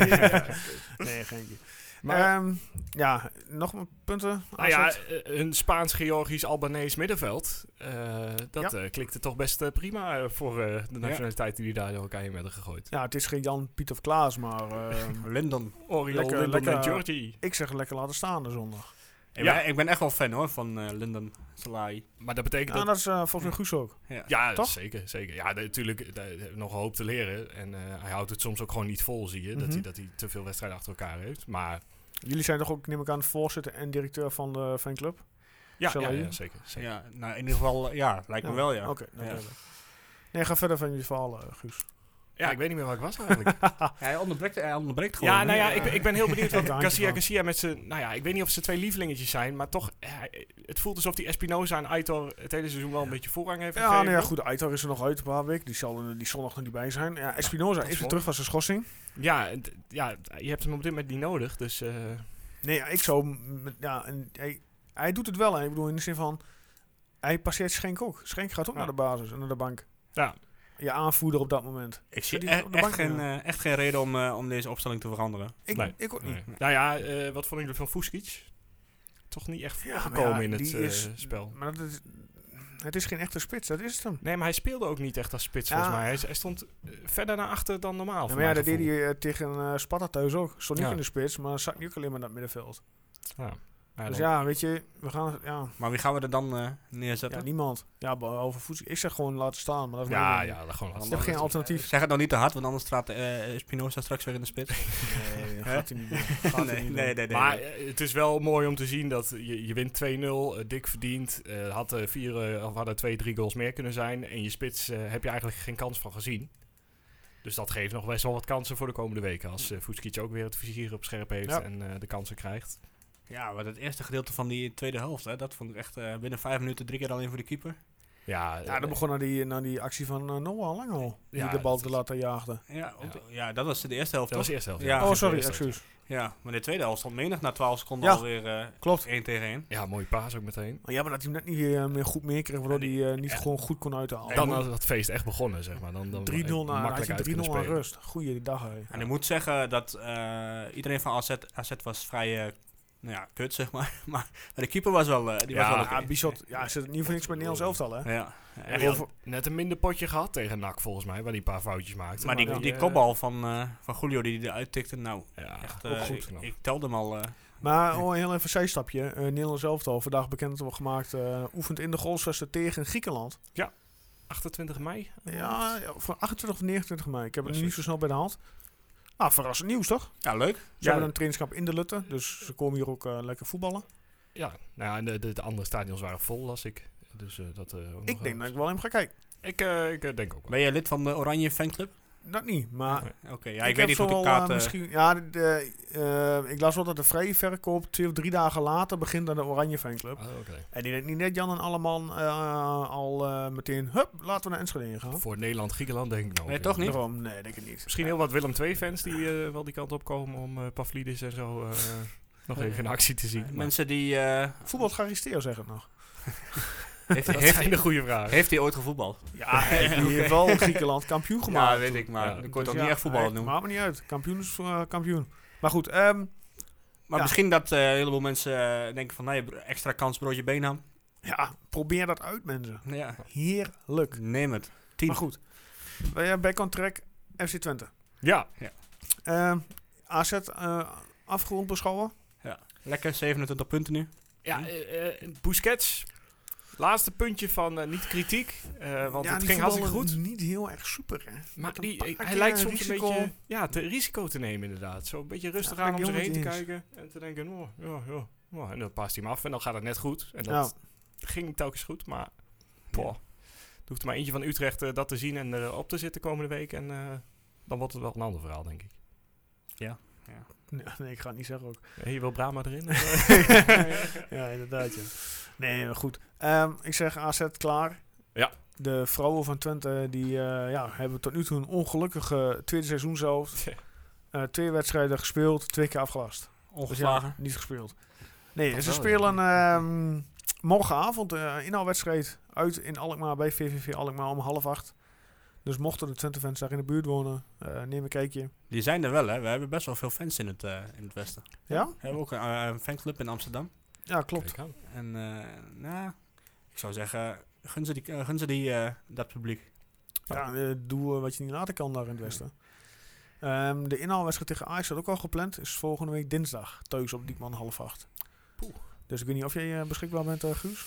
S1: Nee, geintje.
S2: Maar-
S1: Maar, Ehm, ja, nog wat punten?
S2: Nou ja,
S1: AZ?
S2: eh, een Spaans-Georgisch-Albanees middenveld. eh, dat eh, klikte toch best eh, prima eh, voor eh, de nationaliteit die die daar door elkaar heen werden gegooid.
S1: ja, het is geen Jan, Piet of Klaas, maar ehm,
S3: Lindon.
S2: Oriol,
S1: Lekker-
S2: Lindon
S1: lekker- eh,
S2: en Georgie.
S1: ik zeg lekker laten staan de zondag.
S3: Ik,
S2: Ja.
S3: ben, ik ben echt wel fan hoor van eh Lindon Salai.
S2: Maar dat betekent
S1: Ja,
S2: dat...
S1: dat is eh, volgens mij Guus ook.
S3: Ja.
S2: Ja,
S1: toch?
S2: zeker, zeker. Ja, de- natuurlijk eh, daar hebben we nog een hoop te leren. En eh, hij houdt het soms ook gewoon niet vol, zie je. dat,
S1: Mhm.
S2: hij, dat hij te veel wedstrijden achter elkaar heeft. Maar
S1: Jullie zijn toch ook, neem ik aan, de voorzitter en directeur van de fanclub?
S2: ja,
S1: Zal
S2: ja,
S1: hij-
S2: ja, zeker. zeker.
S3: Ja, nou in ieder geval, eh, ja, lijkt me wel ja.
S1: Oké, nou,
S3: Ja.
S1: duidelijk. Nee, ga verder van jullie verhaal, eh, Guus.
S2: Ja, ik weet niet meer waar ik was eigenlijk.
S3: Hij onderbreekt, hij onderbreekt gewoon.
S2: ja,
S3: hè?
S2: nou ja, ik, ben- ik ben heel benieuwd wat
S1: Daar hangt hij
S2: Garcia
S1: van.
S2: Garcia met zijn... Nou ja, ik weet niet of ze twee lievelingetjes zijn. Maar toch, eh, het voelt alsof die Espinoza en Aitor het hele seizoen wel een beetje voorrang heeft
S1: Ja,
S2: gegeven.
S1: nou ja, goed, Aitor is er nog uit een paar weken. Die zal er die zondag nog niet bij zijn. Ja, Espinoza
S2: is
S1: is weer
S2: wel-
S1: terug van zijn schorsing.
S2: Ja, en t- ja, t- je hebt hem op dit moment niet nodig, dus... eh,
S1: Nee, ja, ik zou... hem met- Ja, en hij, hij doet het wel, hè. Ik bedoel, in de zin van... Hij passeert Schenk ook. Schenk gaat ook
S2: Ja.
S1: naar de basis en naar de bank.
S2: ja.
S1: Je aanvoerder op dat moment.
S3: Ik zie
S1: Die
S3: e-
S1: op de
S3: echt,
S1: bank,
S3: geen,
S1: ja.
S3: eh, echt geen reden om, eh, om deze opstelling te veranderen.
S1: Ik,
S2: Nee.
S1: ik ook niet.
S2: Nee. Nou ja, eh, wat vonden jullie van Fuskic? Toch niet echt
S1: Ja, maar
S2: voorgekomen
S1: ja,
S2: in het
S1: die
S2: eh,
S1: is-
S2: spel.
S1: Maar dat is, het is geen echte spits, dat is het hem.
S2: Nee, maar hij speelde ook niet echt als spits,
S1: Ja.
S2: volgens mij. Hij, hij stond eh, verder naar achter dan normaal,
S1: Ja,
S2: voor
S1: maar ja,
S2: mijn
S1: dat deed hij
S2: gevoel.
S1: eh, tegen eh, Sparta thuis ook. Stond niet
S2: Ja.
S1: in de spits, maar zat nu ook alleen maar naar het middenveld.
S2: Ja. Ja,
S1: dus
S2: dan-
S1: ja, weet je, we gaan... Ja,
S3: Maar wie gaan we er dan eh,
S1: ja
S3: neerzetten?
S1: niemand. Ja, behalve voet. Ik zeg gewoon laten staan, maar dat is
S2: ja,
S1: mijn mening.
S2: ja, dan gewoon
S1: Ik
S2: laten
S1: heb
S2: staan.
S1: geen alternatief.
S3: Zeg het nog niet te hard, want anders staat eh Spinoza straks weer in de spits.
S1: Nee, dat gaat hij niet doen. Gaat hij niet doen.
S2: Maar eh, het is wel mooi om te zien dat je, je wint 2-0, eh, dik verdiend. eh, had, eh, vier, eh, of hadden twee, drie goals meer kunnen zijn. En je spits eh, heb je eigenlijk geen kans van gezien. Dus dat geeft nog best wel wat kansen voor de komende weken. Als eh Fuskic ook weer het vizier op scherp heeft
S1: Ja.
S2: en eh, de kansen krijgt.
S3: Ja, maar het eerste gedeelte van die tweede helft, hè, dat vond ik echt eh, binnen vijf minuten drie keer alleen voor de keeper.
S2: Ja,
S1: Ja, dat
S2: eh,
S1: begon naar die, naar die actie van eh, Noah Lang al. Die
S2: Ja,
S1: de bal
S2: dat
S1: te
S2: is-
S1: laten jaagde.
S3: Ja, ook- ja dat was de eerste helft.
S2: dat was
S3: toch?
S2: de eerste helft.
S3: Ja.
S1: oh,
S2: Dat was
S1: sorry,
S2: de eerste helft.
S1: excuus.
S3: Ja, maar de tweede helft stond menig na 12 seconden
S1: Ja.
S3: alweer eh
S1: Klopt.
S3: één tegen één.
S2: Ja, mooie paas ook meteen.
S1: Maar ja, maar dat hij hem net niet eh, meer goed meerkreeg, waardoor hij eh, niet
S2: en-
S1: gewoon goed kon uithalen.
S2: Dan had dat feest echt begonnen, zeg maar. Dan, dan
S1: 3-0 naar, had
S2: makkelijk
S1: hij 3-0
S2: uit kunnen
S1: aan
S2: spelen.
S1: rust. Goeie dag, hè.
S3: En ik moet zeggen dat eh, iedereen van AZ, AZ was vrij eh, nou ja, kut, zeg maar. maar. Maar de keeper was wel, eh, die
S2: Ja,
S3: was wel
S1: Ja,
S3: oké.
S1: Bizot, ja, zit het niet voor niks bij Nederlands elftal, hè?
S3: Ja.
S2: En die had net een minder potje gehad tegen NAC, volgens mij. Waar die een paar foutjes maakte.
S3: Maar die,
S2: ja.
S3: die kopbal van, eh, van Julio die hij eruit tikte, nou,
S2: Ja,
S3: echt,
S2: ook
S3: eh,
S2: goed.
S3: ik,
S2: knap.
S3: ik telde hem al. eh,
S1: Maar oh, heel even een zijstapje. Eh Nederlands elftal, vandaag bekend wordt gemaakt, eh, oefent in de goalsvesten tegen Griekenland.
S2: 28 mei?
S1: Ja, ja, voor 28 of 29 mei. Ik heb het nu
S2: Precies.
S1: niet zo snel bij de hand. Nou, verrassend nieuws toch?
S3: Ja, leuk.
S1: Ze
S2: Ja.
S1: hebben een trainingskamp in de Lutte, dus ze komen hier ook eh, lekker voetballen.
S2: Ja, nou ja, en de, de, de andere stadions waren vol, las ik. Dus eh, dat... eh, ook nog
S1: Ik denk
S2: wel.
S1: dat ik wel hem ga kijken.
S2: Ik, eh, ik eh, denk ook wel.
S3: Ben jij lid van de Oranje fanclub?
S1: Dat niet, maar
S3: Oké, ja, ik, weet
S1: heb
S3: niet
S1: zo
S3: hoe de
S1: wel, eh,
S3: kaart... eh,
S1: misschien, ja, de- de, eh, ik las wel dat de vrije verkoop twee of drie dagen later begint aan de Oranje fanclub.
S2: Ah, oké.
S1: En die denkt niet net Jan en Alleman eh, al eh, meteen, hup, laten we naar Enschede in gaan.
S2: Voor Nederland, Griekenland denk ik nou.
S3: Nee,
S2: ook,
S3: toch
S2: eh,
S3: niet?
S1: Daarom, nee, denk ik niet.
S2: Misschien heel wat Willem II-fans die eh, wel die kant op komen om eh, Pavlidis en zo eh, nog even in actie te zien. Maar
S3: Mensen die... eh,
S1: Voetbal Garisteo zegt het nog.
S3: heeft,
S2: dat
S3: heeft,
S2: zijn de goede vraag.
S3: heeft hij ooit gevoetbald?
S1: Ja, die heeft wel Griekenland kampioen gemaakt.
S3: Ja, weet ik, maar
S2: Ja.
S3: ik
S2: Dus
S3: kon je toch
S1: Ja,
S3: niet echt voetballer
S1: nee,
S3: noemen. Maar,
S1: Maakt me niet uit. Kampioen is eh, kampioen. Maar goed, ehm, ja.
S3: misschien dat eh, een heleboel mensen eh, denken van, nee, bro- extra kans broodje Beenham.
S1: ja, probeer dat uit, mensen.
S3: Ja.
S1: Heerlijk.
S3: Neem het.
S1: Maar goed, eh, bij, bij contract FC Twente.
S2: Ja,
S1: Ehm, AZ eh, afgerond beschouwen.
S3: Lekker, 27 punten nu.
S2: ja eh, eh, Busquets. Laatste puntje van eh, niet kritiek, eh, want het
S1: die
S2: ging hartstikke
S1: voetballen
S2: goed.
S1: Niet heel erg super, hè?
S2: Maar
S1: Met een
S2: die,
S1: paar
S2: hij
S1: keer
S2: lijkt soms
S1: risico.
S2: een beetje ja, te risico te nemen inderdaad. Zo een beetje rustig
S1: Ja,
S2: aan
S1: ben
S2: om
S1: ik
S2: zich heen te
S1: helemaal niet
S2: kijken en te denken, oh, ja, ja. ja. En dan past hij hem af en dan gaat het net goed. En dat ging telkens goed, maar poh. Er hoeft er maar eentje van Utrecht eh, dat te zien en erop op te zitten komende week. En eh, dan wordt het wel een ander verhaal, denk ik.
S1: Nee, nee, ik ga het niet zeggen ook.
S2: Hé, je Eh, wil Brahma erin?
S1: ja, inderdaad. Ja. Nee, maar goed. Ehm, ik zeg AZ klaar.
S2: Ja.
S1: De vrouwen van Twente die, eh, ja, hebben tot nu toe een ongelukkige tweede seizoen zelf.
S2: Ja.
S1: Eh, twee wedstrijden gespeeld, twee keer afgelast. Dus ja,
S3: Ongeslagen.
S1: niet gespeeld. Nee,
S2: Dat
S1: ze
S2: wel,
S1: spelen ehm, morgenavond eh inhaalwedstrijd uit in Alkmaar bij VVV Alkmaar om half acht. Dus mochten de Twente fans daar in de buurt wonen, eh, neem een kijkje.
S3: Die zijn er wel, hè. We hebben best wel veel fans in het, eh, in het Westen.
S1: Ja?
S3: We hebben ook een, eh, een fanclub in Amsterdam.
S1: Ja, klopt.
S3: En, eh, nou, ik zou zeggen, gun ze, die, eh, gun ze die, eh, dat publiek.
S1: Ja, eh, doe eh, wat je niet later kan daar in het westen. Ehm, de inhaalwedstrijd tegen Ajax had ook al gepland. Is volgende week dinsdag. Thuis op Diekman half acht.
S2: Poeh.
S1: Dus ik weet niet of jij eh, beschikbaar bent, eh, Guus.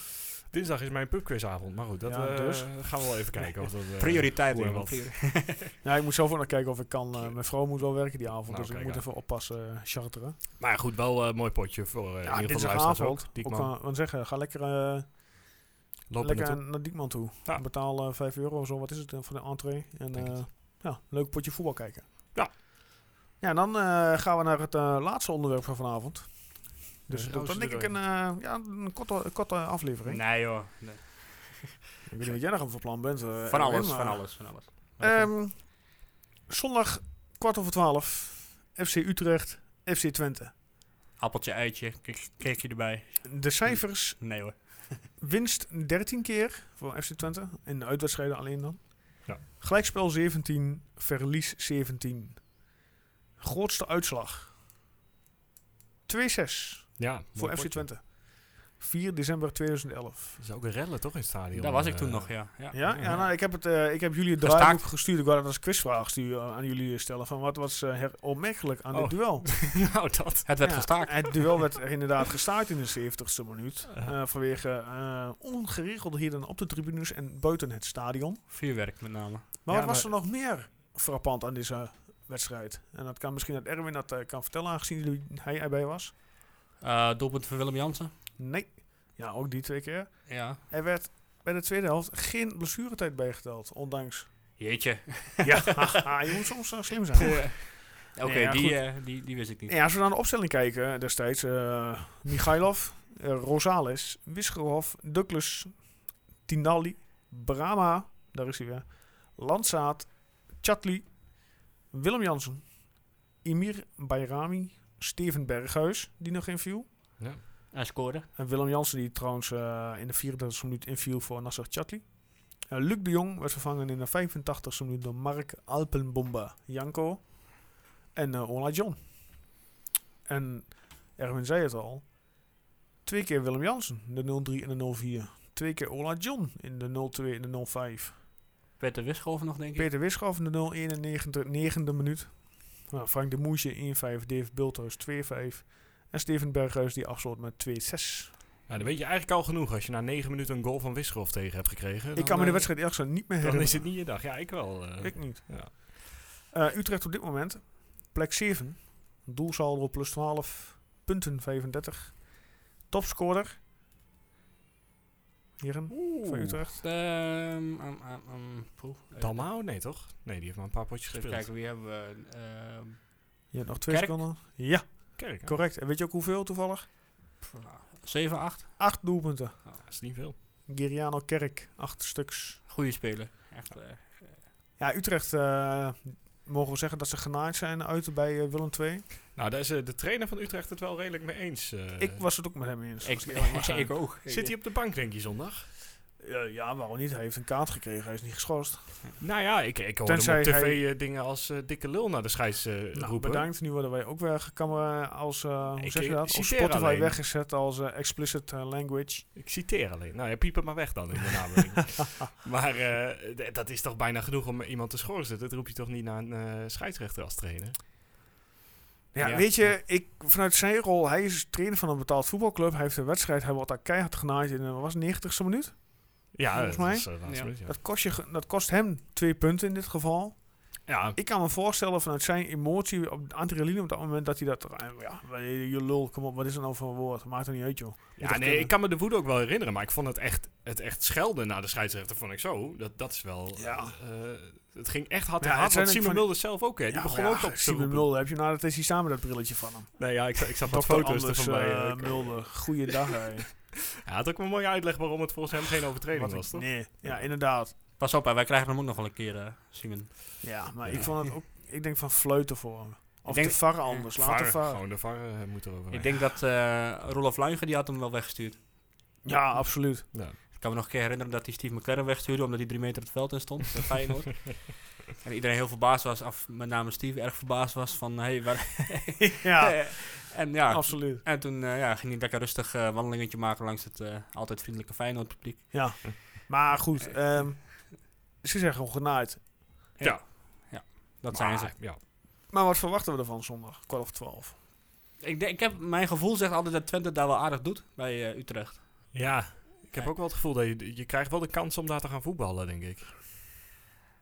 S2: Dinsdag is mijn pubquizavond, maar goed, dat
S1: Ja,
S2: eh,
S1: dus.
S2: gaan we wel even kijken. Of dat, eh,
S3: Prioriteit.
S2: hoe en
S3: jongen,
S2: wat.
S3: priori-
S1: Ja, ik moet zelf ook nog kijken of ik kan. eh, mijn vrouw moet wel werken die avond.
S2: Nou,
S1: dus ik
S2: kijk
S1: moet
S2: aan.
S1: even oppassen, eh, charteren.
S2: Maar ja, goed, wel eh, een mooi potje voor eh,
S1: Ja,
S2: in ieder geval de luisteraars
S1: dinsdagavond.
S2: ook.
S1: Ik
S2: Diekman,
S1: kan want zeggen, ga lekker, eh,
S2: loop er
S1: lekker
S2: naartoe.
S1: naar Diekman toe.
S2: Ja.
S1: Betaal eh, 5 euro of zo. Wat is het eh, voor de entree? En
S2: Denk
S1: eh,
S2: het.
S1: ja, leuk potje voetbal kijken.
S2: Ja.
S1: Ja, en dan eh, gaan we naar het eh, laatste onderwerp van vanavond. Dus
S2: Eh,
S1: dat
S2: rozen
S1: dan denk ik
S2: erin.
S1: een, eh, ja, een korte, een korte aflevering.
S3: Nee, joh. Nee.
S1: Ik weet niet wat jij nog van plan bent. eh,
S3: Van
S1: Erwin, Eh,
S3: alles,
S1: maar-
S3: van alles, van alles.
S1: Ehm, zondag kwart over twaalf. FC Utrecht, FC Twente.
S3: Appeltje, eitje, kik- kikje erbij.
S1: De cijfers
S3: Nee hoor.
S1: Winst 13 keer voor FC Twente. In de uitwedstrijden alleen dan.
S2: Ja.
S1: Gelijkspel 17, verlies 17. Grootste uitslag. 2-6
S2: Ja, mooi
S1: voor FC
S2: potje.
S1: Twente. 4 december 2011.
S2: Dat is ook een rellen, toch, in het stadion?
S3: Daar was ik
S2: eh,
S3: toen nog, ja. ja.
S1: Ja, ja nou, ik, heb het, eh, ik heb jullie het
S3: Gestaakt.
S1: draaiboek gestuurd. Ik wou dat als quizvraag sturen, aan jullie stellen. Van wat was eh, her- opmerkelijk aan
S2: Oh.
S1: dit duel?
S2: nou, dat.
S3: Het werd
S1: Ja,
S3: gestaakt.
S1: Het duel werd er inderdaad gestaakt in de 70ste minuut. eh, vanwege eh ongeregeldheden op de tribunes en buiten het stadion.
S3: Vuurwerk met name.
S1: Maar
S2: Ja,
S1: wat was er nog meer frappant aan deze wedstrijd? En dat kan misschien dat Erwin dat eh, kan vertellen, aangezien jullie- hij erbij was.
S3: Eh, doelpunt van Willem Jansen.
S1: Nee. Ja, ook die twee keer.
S3: Ja.
S1: Er werd bij de tweede helft geen blessuretijd bijgeteld, ondanks.
S3: Jeetje.
S1: Ja, haha, je moet soms eh, slim zijn.
S3: Oké,
S1: Nee, ja,
S3: die,
S1: goed.
S3: eh, die, die wist ik niet.
S1: Ja, als we naar de opstelling kijken destijds, eh Michailov, eh, Rosales, Wisgerhof, Douglas, Tinali, Brahma, daar is hij weer, Landsaat, Chatli, Willem Jansen, Emir Bayrami, Steven Berghuis, die nog inviel.
S3: Hij scoorde.
S1: En Willem Jansen, die trouwens eh, in de 34e minuut inviel voor Nasser Chatli. Eh, Luc de Jong werd vervangen in de 85e minuut door Mark Alpenbomba, Janko en eh, Ola John. En Erwin zei het al. Twee keer Willem Jansen, de 0-3 en de 0-4. Twee keer Ola John in de 0-2 en de 0-5.
S3: Peter Wischoven nog, denk ik.
S1: Peter Wischhoff in de 0-91, negende minuut. Nou, Frank de Moesje 1-5, Dave Bulthuis 2-5. En Steven Berghuis die afsloot met 2-6.
S2: Nou, dan weet je eigenlijk al genoeg. Als je na negen minuten een goal van Wisselhof tegen hebt gekregen...
S1: Ik
S2: dan,
S1: kan me de
S2: eh,
S1: wedstrijd eerlijk gezegd niet meer
S2: Dan
S1: herinneren.
S2: is het niet je dag. Ja, ik wel. eh.
S1: Ik niet.
S2: Ja.
S1: Eh, Utrecht op dit moment, plek 7. Doelsaldo plus 12, punten 35. Topscorer. Heren, voor Utrecht.
S3: Ehm, ehm, ehm, ehm, poeh. Even
S2: Dalmau? Nee, toch? Nee, die heeft maar een paar potjes
S3: Even
S2: gespeeld.
S3: kijken, wie hebben we? Ehm,
S1: Je hebt nog twee
S3: Kerk.
S1: seconden. Ja,
S2: Kerk, hè?
S1: correct. En weet je ook hoeveel toevallig?
S3: pff, ah, 7, 8.
S1: Acht doelpunten.
S2: Dat is niet veel.
S1: Giriano Kerk, acht stuks.
S3: Goeie speler. Echt, eh,
S1: Ja, Utrecht eh, mogen we zeggen dat ze genaaid zijn uit bij eh, Willem II.
S2: Nou, daar is eh, de trainer van Utrecht het wel redelijk mee eens. eh.
S1: ik was het ook met hem eens.
S3: ik,
S1: als eerlijk mag zijn.
S3: ik ook.
S2: Zit hij op de bank, denk je, zondag?
S1: Eh, ja, waarom niet? Hij heeft een kaart gekregen. Hij is niet geschorst.
S2: Nou ja, ik, ik hoorde
S1: Tenzij
S2: hem op tv
S1: hij-
S2: eh, dingen als eh, dikke lul naar de scheids eh,
S1: Nou,
S2: roepen.
S1: bedankt. Nu worden wij ook weer gekamer als, eh, hoe
S2: Ik,
S1: zeg je
S2: eh,
S1: dat? Op
S2: citeer
S1: Spotify
S2: alleen.
S1: weggezet als eh, explicit eh, language.
S2: Ik citeer alleen. Nou ja, piep het maar weg dan in de nabeling. maar eh, d- dat is toch bijna genoeg om iemand te schorsen? Dat roep je toch niet naar een eh, scheidsrechter als trainer?
S1: Ja,
S3: Ja.
S1: weet je, ik, vanuit zijn rol, hij is trainer van een betaald voetbalclub. Hij heeft een wedstrijd, hij wordt daar keihard genaaid in, eh, wat was het, 90ste minuut?
S2: Ja,
S1: Volgens
S2: dat
S1: mij.
S2: is, eh, laatste
S3: Ja.
S2: minuut, ja.
S1: Dat, kost je, ge- dat kost hem twee punten in dit geval.
S2: Ja,
S1: Ik kan me voorstellen vanuit zijn emotie, op adrenaline op dat moment, dat hij dat... eh, Ja, je lul, kom op, wat is er nou voor een woord? Maakt er niet uit, joh.
S2: Ja,
S1: Moet echt
S2: nee,
S1: kunnen.
S2: ik kan me de woede ook wel herinneren, maar ik vond het echt, het echt schelden naar de scheidsrechter, vond ik zo. Dat, dat is wel...
S1: Ja.
S2: eh, eh, het ging echt hard
S1: Ja, het
S2: in hard,
S1: zijn
S2: want
S1: ook
S2: Simon
S1: van die-
S2: Mulder zelf ook, hè. Die
S1: Ja,
S2: begon
S1: maar
S2: ook
S1: ja,
S2: op te
S1: Simon
S2: roepen.
S1: Mulder, heb je nou, dat is hij samen dat brilletje van hem.
S2: Nee, ja, ik, zag- ik zag wat
S1: Dokter
S2: foto's er
S1: Anders,
S2: van mij.
S1: eh,
S2: eh,
S1: Mulder, goeiedag. hè.
S2: Hij had ook een mooie uitleg waarom het volgens hem geen overtreding
S1: Wat een-
S2: was, toch?
S1: Nee, ja, inderdaad.
S3: Pas op, hè, wij krijgen hem ook nog wel een keer, eh, Simon.
S1: Ja, maar ik vond het ook. Ik denk van fluiten voor hem. Of
S3: denk-
S1: de VAR anders. Laat de
S2: VAR,
S1: VAR.
S2: Gewoon de VAR eh, moet erover.
S3: Ik denk dat eh Rolf Luijgen, die had hem wel weggestuurd.
S1: Ja, absoluut.
S2: Ja.
S3: Ik kan me nog een keer herinneren dat hij Steve McLaren wegstuurde, omdat hij drie meter het veld in stond, bij Feyenoord. en iedereen heel verbaasd was, af, met name Steve, erg verbaasd was van, hey, waar...
S1: Ja,
S3: en ja,
S1: absoluut.
S3: en toen eh, ja, ging hij lekker rustig eh, wandelingetje maken langs het eh, altijd vriendelijke Feyenoord publiek.
S1: Ja. Maar goed, ehm, ze zijn gewoon genaaid.
S2: Ja.
S3: Dat zijn
S2: Maar,
S3: ze.
S2: Ah, Ja.
S1: Maar wat verwachten we ervan zondag? Kwart of twaalf.
S3: Ik, denk, ik heb, mijn gevoel zegt altijd dat Twente daar wel aardig doet bij eh, Utrecht.
S2: ja, ik heb
S3: Ja.
S2: ook wel het gevoel dat je, je krijgt wel de kans om daar te gaan voetballen, denk ik.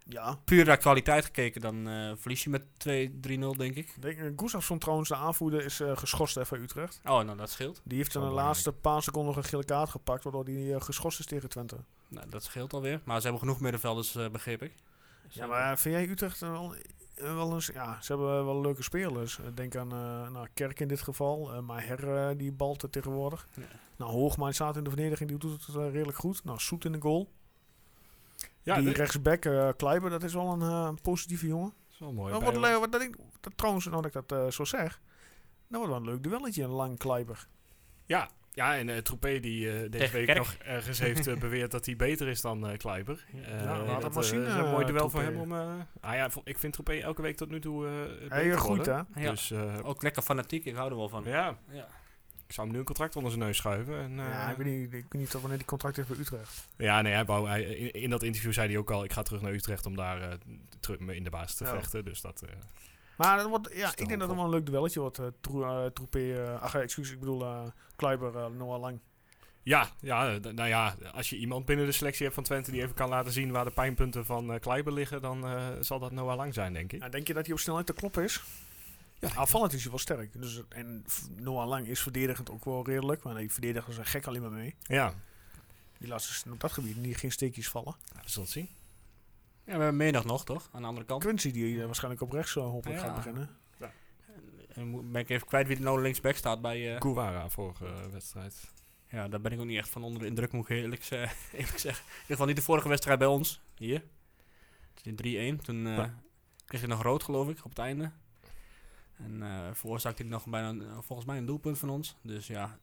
S1: Ja.
S3: Puur naar kwaliteit gekeken, dan eh, verlies je met 2-3-0, denk ik.
S1: Ik Denk, eh, Gustafsson trouwens, de aanvoerder, is eh geschorst hè, van Utrecht.
S3: Oh, nou, dat scheelt.
S1: Die heeft in de
S2: Wel belangrijk.
S1: laatste paar seconden nog een gele kaart gepakt, waardoor hij eh, geschorst is tegen Twente.
S3: Nou, dat scheelt alweer. Maar ze hebben genoeg middenvelders, eh begreep ik. Dus,
S1: Ja,
S3: eh,
S1: maar eh, vind jij Utrecht eh, wel, eh, wel eens... Ja, ze hebben wel leuke spelers. Eh, Denk aan eh, nou, Kerk in dit geval. eh, maar Her eh, die balt er tegenwoordig.
S3: Ja.
S1: Nou, Hoogma staat in de verdediging. Die doet het eh, redelijk goed. Nou, Soet in de goal.
S2: Ja,
S1: die
S2: dat
S1: rechtsback, eh Kleiber, dat is wel een eh, een positieve jongen.
S2: is wel mooi.
S1: Dan
S2: bij-
S1: wordt, le- wat, dat ik, dat, trouwens, nou dat ik dat eh, zo zeg... Dan wordt wel een leuk duelletje, een lang Kleiber.
S2: Ja, ja en eh Troepé die eh, deze
S3: Tegen
S2: week
S3: Kerk.
S2: nog ergens heeft eh, beweerd dat hij beter is dan eh Kleiber. Eh,
S1: laat
S2: dat,
S1: het
S2: eh,
S1: maar zien,
S2: is een mooi
S1: eh,
S2: duel voor
S1: Troepé.
S2: hem om... eh, ah ja, vo- ik vind Troepé elke week tot nu toe eh beter
S1: Hij eh, groeit,
S2: worden.
S1: hè?
S3: Ja.
S2: Dus eh,
S3: Ook lekker fanatiek, ik hou er wel van.
S2: ja,
S3: Ja.
S2: ik zou hem nu een contract onder zijn neus schuiven. En, eh,
S1: ja, ik weet niet, ik weet niet of wanneer die contract heeft bij Utrecht.
S2: Ja, nee, hij wou, hij, in, in dat interview zei hij ook al: ik ga terug naar Utrecht om daar eh, terug me in de baas te
S1: Ja.
S2: vechten. Dus dat. eh,
S1: Maar dat wordt, ja, ik
S2: Stel
S1: denk dat het
S2: op.
S1: wel een leuk duelletje wordt. eh, Troe- eh, Troepé, eh, ach, eh, excuus, ik bedoel eh Kleiber, eh, Noah Lang.
S2: Ja, ja, d- nou ja, als je iemand binnen de selectie hebt van Twente die even kan laten zien waar de pijnpunten van eh Kleiber liggen, dan eh, zal dat Noah Lang zijn, denk ik.
S1: Nou, denk je dat hij op snelheid te kloppen is? Ja, aanvallend is hij wel sterk. Dus, en F- Noah Lang is verdedigend ook wel redelijk. Maar die verdedigers zijn gek alleen maar mee.
S2: Ja,
S1: Die laat ze op dat gebied niet, geen steekjes vallen.
S2: we zullen het zien.
S3: Ja, we hebben middag nog, toch? Aan de andere kant.
S1: Quincy die eh, waarschijnlijk op rechts eh, hopelijk
S3: Ja.
S1: gaat beginnen.
S3: En mo- ben ik even kwijt wie er nou linksback staat bij... eh,
S2: Kouwara vorige eh, wedstrijd.
S3: ja, daar ben ik ook niet echt van onder de indruk, moet ik eerlijk, ze- eerlijk zeggen. In ieder geval niet de vorige wedstrijd bij ons. Hier. Het is in 3-1. Toen eh,
S2: Ja.
S3: kreeg hij nog rood, geloof ik, op het einde. En eh veroorzaakte hij nog bijna, een- volgens mij, een doelpunt van ons. Dus ja.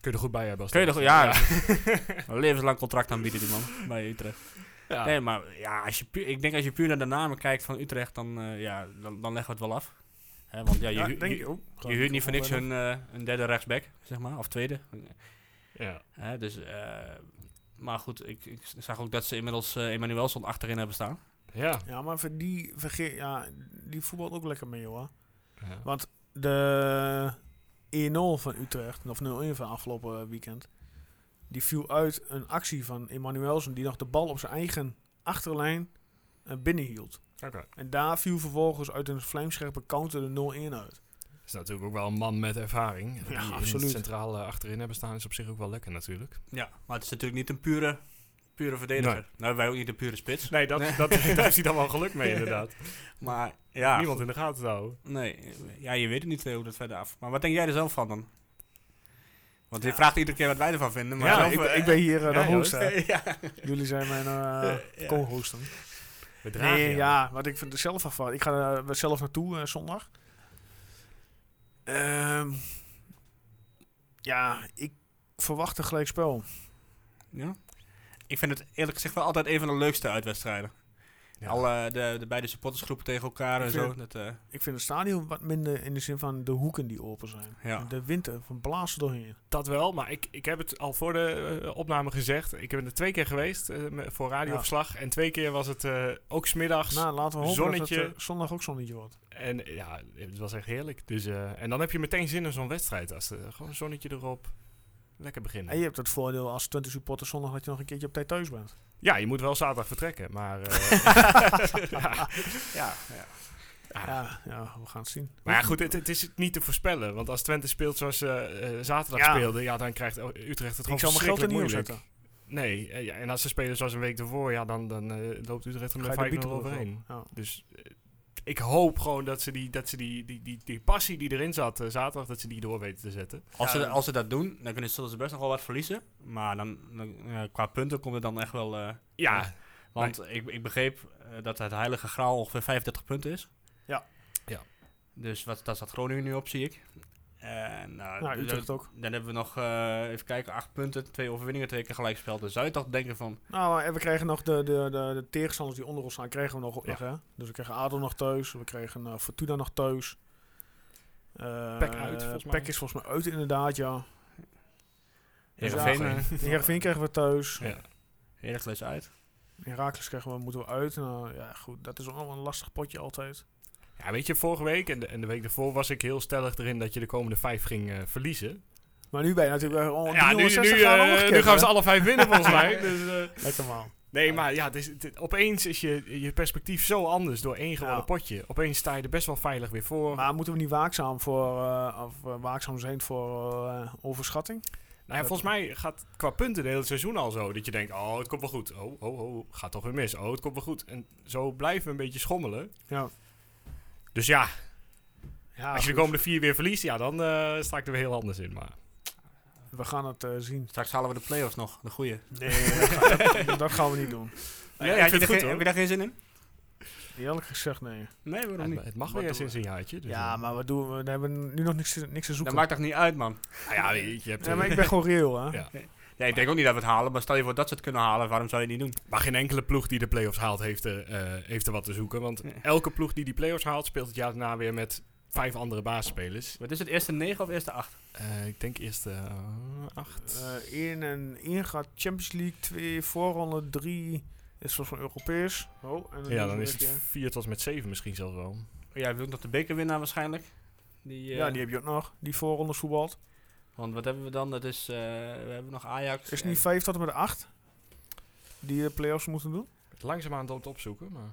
S2: Kun je er goed bij hebben als
S3: Kun je er goed-
S2: Twente.
S3: ja. Een levenslang contract aanbieden, die man. Bij Utrecht.
S2: Ja.
S3: Nee, maar ja, als je puur, ik denk als je puur naar de namen kijkt van Utrecht, dan, eh, ja, dan, dan leggen we het wel af. Hè, want ja, je,
S1: Ja,
S3: hu-
S1: denk
S3: je,
S1: ik ook.
S3: je huurt niet voor niks een, eh, een derde rechtsback, zeg maar, of tweede.
S2: Ja.
S3: Hè, dus, eh, maar goed, ik, ik zag ook dat ze inmiddels eh Emmanuelson achterin hebben staan.
S2: Ja.
S1: Ja, maar voor die, vergeet, ja, die voetbalt ook lekker mee, hoor. E
S2: Ja.
S1: Want de 1-0 van Utrecht, of 0-1 van afgelopen weekend... Die viel uit een actie van Emmanuelsen die nog de bal op zijn eigen achterlijn eh, binnenhield.
S2: Oké.
S1: En daar viel vervolgens uit een vlijmscherpe counter de 0-1 uit.
S2: Is natuurlijk ook wel een man met ervaring. Die in het
S1: absoluut.
S2: Centraal eh, achterin hebben staan is op zich ook wel lekker natuurlijk.
S3: Ja, maar het is natuurlijk niet een pure, pure verdediger.
S2: Nee.
S3: Nou, wij ook niet een pure spits.
S2: Nee, dat, Dat, daar heeft hij dan wel geluk mee inderdaad.
S3: Maar ja,
S2: Niemand in de gaten te houden.
S3: nee, ja, je weet het niet eh, hoe dat verder af. Maar wat denk jij er zelf van dan? Want je vraagt iedere keer wat wij ervan vinden. Maar
S1: ja,
S3: zelf,
S1: ik, ben-
S3: eh,
S1: ik ben hier eh,
S2: ja,
S1: de host. hè.
S3: ja.
S1: Jullie zijn mijn eh,
S3: ja.
S1: co-hosten.
S2: We dragen
S1: Nee,
S2: hem.
S1: ja, wat ik vind er zelf af. eh, Ik ga er zelf naartoe eh, zondag. Ehm, ja, ik verwacht een gelijk spel.
S3: Ja. Ik vind het eerlijk gezegd wel altijd een van de leukste uitwedstrijden.
S2: Ja.
S3: Al eh, de, de beide supportersgroepen tegen elkaar en
S1: Ik vind
S3: zo.
S1: het-
S3: Dat, eh,
S1: Ik vind het stadion wat minder in de zin van de hoeken die open zijn.
S3: Ja.
S1: De winter van blazen doorheen.
S2: Dat wel, maar ik, ik heb het al voor de eh, opname gezegd. Ik ben er twee keer geweest eh, me- voor radioverslag. En twee keer was het eh, ook smiddags.
S1: Nou, laten we hopen dat
S2: Zonnetje.
S1: het eh, zondag ook zonnetje wordt.
S2: En eh, ja, het was echt heerlijk. Dus, eh, en dan heb je meteen zin in zo'n wedstrijd. Als, eh, gewoon een zonnetje erop. Lekker beginnen.
S1: En je hebt het voordeel als 20 supporters zondag dat je nog een keertje op tijd thuis bent.
S2: Ja, je moet wel zaterdag vertrekken. Maar, eh, ja.
S3: ja, ja.
S2: Ah.
S1: Ja, ja, we gaan het zien.
S2: maar ja, goed, het, het is niet te voorspellen. Want als Twente speelt zoals ze eh, zaterdag
S1: Ja.
S2: speelde, ja, dan krijgt Utrecht het gewoon
S1: ik zal mijn geld er
S2: verschrikkelijk
S1: niet op
S2: moeilijk.
S1: zetten.
S2: Nee, eh, ja, en als ze spelen zoals een week ervoor, ja, dan, dan eh, loopt Utrecht er
S1: Ga
S2: met
S1: je de
S2: 5
S1: bieten
S2: overheen.
S1: Ja.
S2: Dus eh, ik hoop gewoon dat ze, die, dat ze die, die, die, die passie die erin zat eh, zaterdag, dat ze die door weten te zetten.
S3: Als,
S1: Ja,
S3: ze,
S1: dan-
S3: als ze dat doen, dan kunnen, zullen ze best nog wel wat verliezen. Maar dan, dan, eh, qua punten komt het dan echt wel... eh,
S2: Ja,
S3: Ja. want ik, ik begreep eh, dat het heilige graal ongeveer 35 punten is.
S1: Ja.
S2: Ja.
S3: Dus wat, daar staat Groningen nu op, zie ik. En, nou,
S1: Nou,
S3: dan,
S1: Utrecht ook.
S3: dan hebben we nog, eh, even kijken, acht punten, twee overwinningen, twee keer gelijkspel. Dan zou je toch denken van,
S1: Nou, en we krijgen nog de, de, de, de tegenstanders die onder ons staan, kregen we nog, ook
S2: Ja.
S1: nog hè. Dus we kregen Adel nog thuis, we kregen eh, Fortuna nog thuis. Eh,
S2: Pek uit, volgens mij.
S1: Pek is volgens mij uit, inderdaad, ja. Dus ja,
S3: Heerenveen,
S1: eh, Heerenveen krijgen we thuis.
S2: Ja.
S3: Heracles uit.
S1: Herakles krijgen we, moeten we uit. Nou, ja, goed, dat is ook nog wel een lastig potje altijd.
S2: Ja, weet je, vorige week en de, en de week daarvoor was ik heel stellig erin dat je de komende vijf ging eh, verliezen.
S1: Maar nu ben je natuurlijk weer oh,
S2: ja, nu, nu,
S1: 360 graden
S2: eh,
S1: omgekeerd,
S2: nu gaan we
S1: hè?
S2: ze alle vijf winnen volgens mij. Dus, eh,
S1: Lekker man.
S2: nee, maar ja, dus, het is, het- het- opeens is je, je perspectief zo anders door één gewonnen
S1: Ja.
S2: potje. Opeens sta je er best wel veilig weer voor.
S1: Maar moeten we niet waakzaam, voor, eh, of, eh, waakzaam zijn voor eh, overschatting?
S2: Nou ja,
S1: Dat-
S2: volgens mij gaat qua punten de hele seizoen al zo. Dat je denkt, oh, het komt wel goed. Oh, oh, oh, gaat toch weer mis. Oh, het komt wel goed. En zo blijven we een beetje schommelen.
S1: Ja.
S2: Dus ja,
S1: Ja,
S2: als je de
S1: goed.
S2: komende vier weer verliest, ja, dan eh, sta ik er weer heel anders in. Maar
S1: We gaan het eh, zien.
S3: Straks halen we de play-offs nog, de goede.
S1: Nee, dat gaan, dat- dat gaan we niet doen.
S2: Ja, ik vind het goed, hoor.
S3: Heb je daar geen zin in?
S1: Eerlijk gezegd, nee.
S3: Nee,
S2: Ja,
S3: waarom
S2: het, het mag
S3: Wat
S2: weer
S3: doen
S2: sinds een jaartje. Dus
S1: Ja,
S2: eh,
S1: maar wat doen we? We hebben nu nog niks, te- niks te
S3: we? Dat
S1: zoeken.
S3: maakt toch niet uit, man?
S2: nou ja, weet je je hebt
S1: ja, maar
S2: eh,
S1: ik ben gewoon reëel, hè?
S2: Ja.
S3: Ja, ik denk ook niet dat we het halen, maar stel je voor dat ze het kunnen halen, waarom zou je het niet doen?
S2: maar geen enkele ploeg die de play-offs haalt heeft er, eh, heeft er wat te zoeken. Want
S3: Nee.
S2: elke ploeg die die play-offs haalt, speelt het jaar daarna weer met vijf andere basisspelers.
S3: Wat is het, eerste 9 of eerste 8?
S2: Eh, ik denk eerst eh, acht.
S1: Eh, één en één gaat Champions League, twee voorronde, drie is volgens mij Europees. Oh, en
S2: ja,
S1: doen
S2: dan
S1: we
S2: is
S1: een
S2: het
S1: keer.
S2: vier tot en met zeven misschien zelfs wel.
S3: Ja, we ook nog de bekerwinnaar waarschijnlijk. Die, eh,
S1: Ja, die heb je ook nog, die voorrondes voetbalt.
S3: Want wat hebben we dan? Dat is, eh, we hebben nog Ajax.
S1: Is het
S3: en-
S1: niet vijf tot en met acht die de play-offs moeten doen?
S2: Het langzaamaan aan het opzoeken, maar...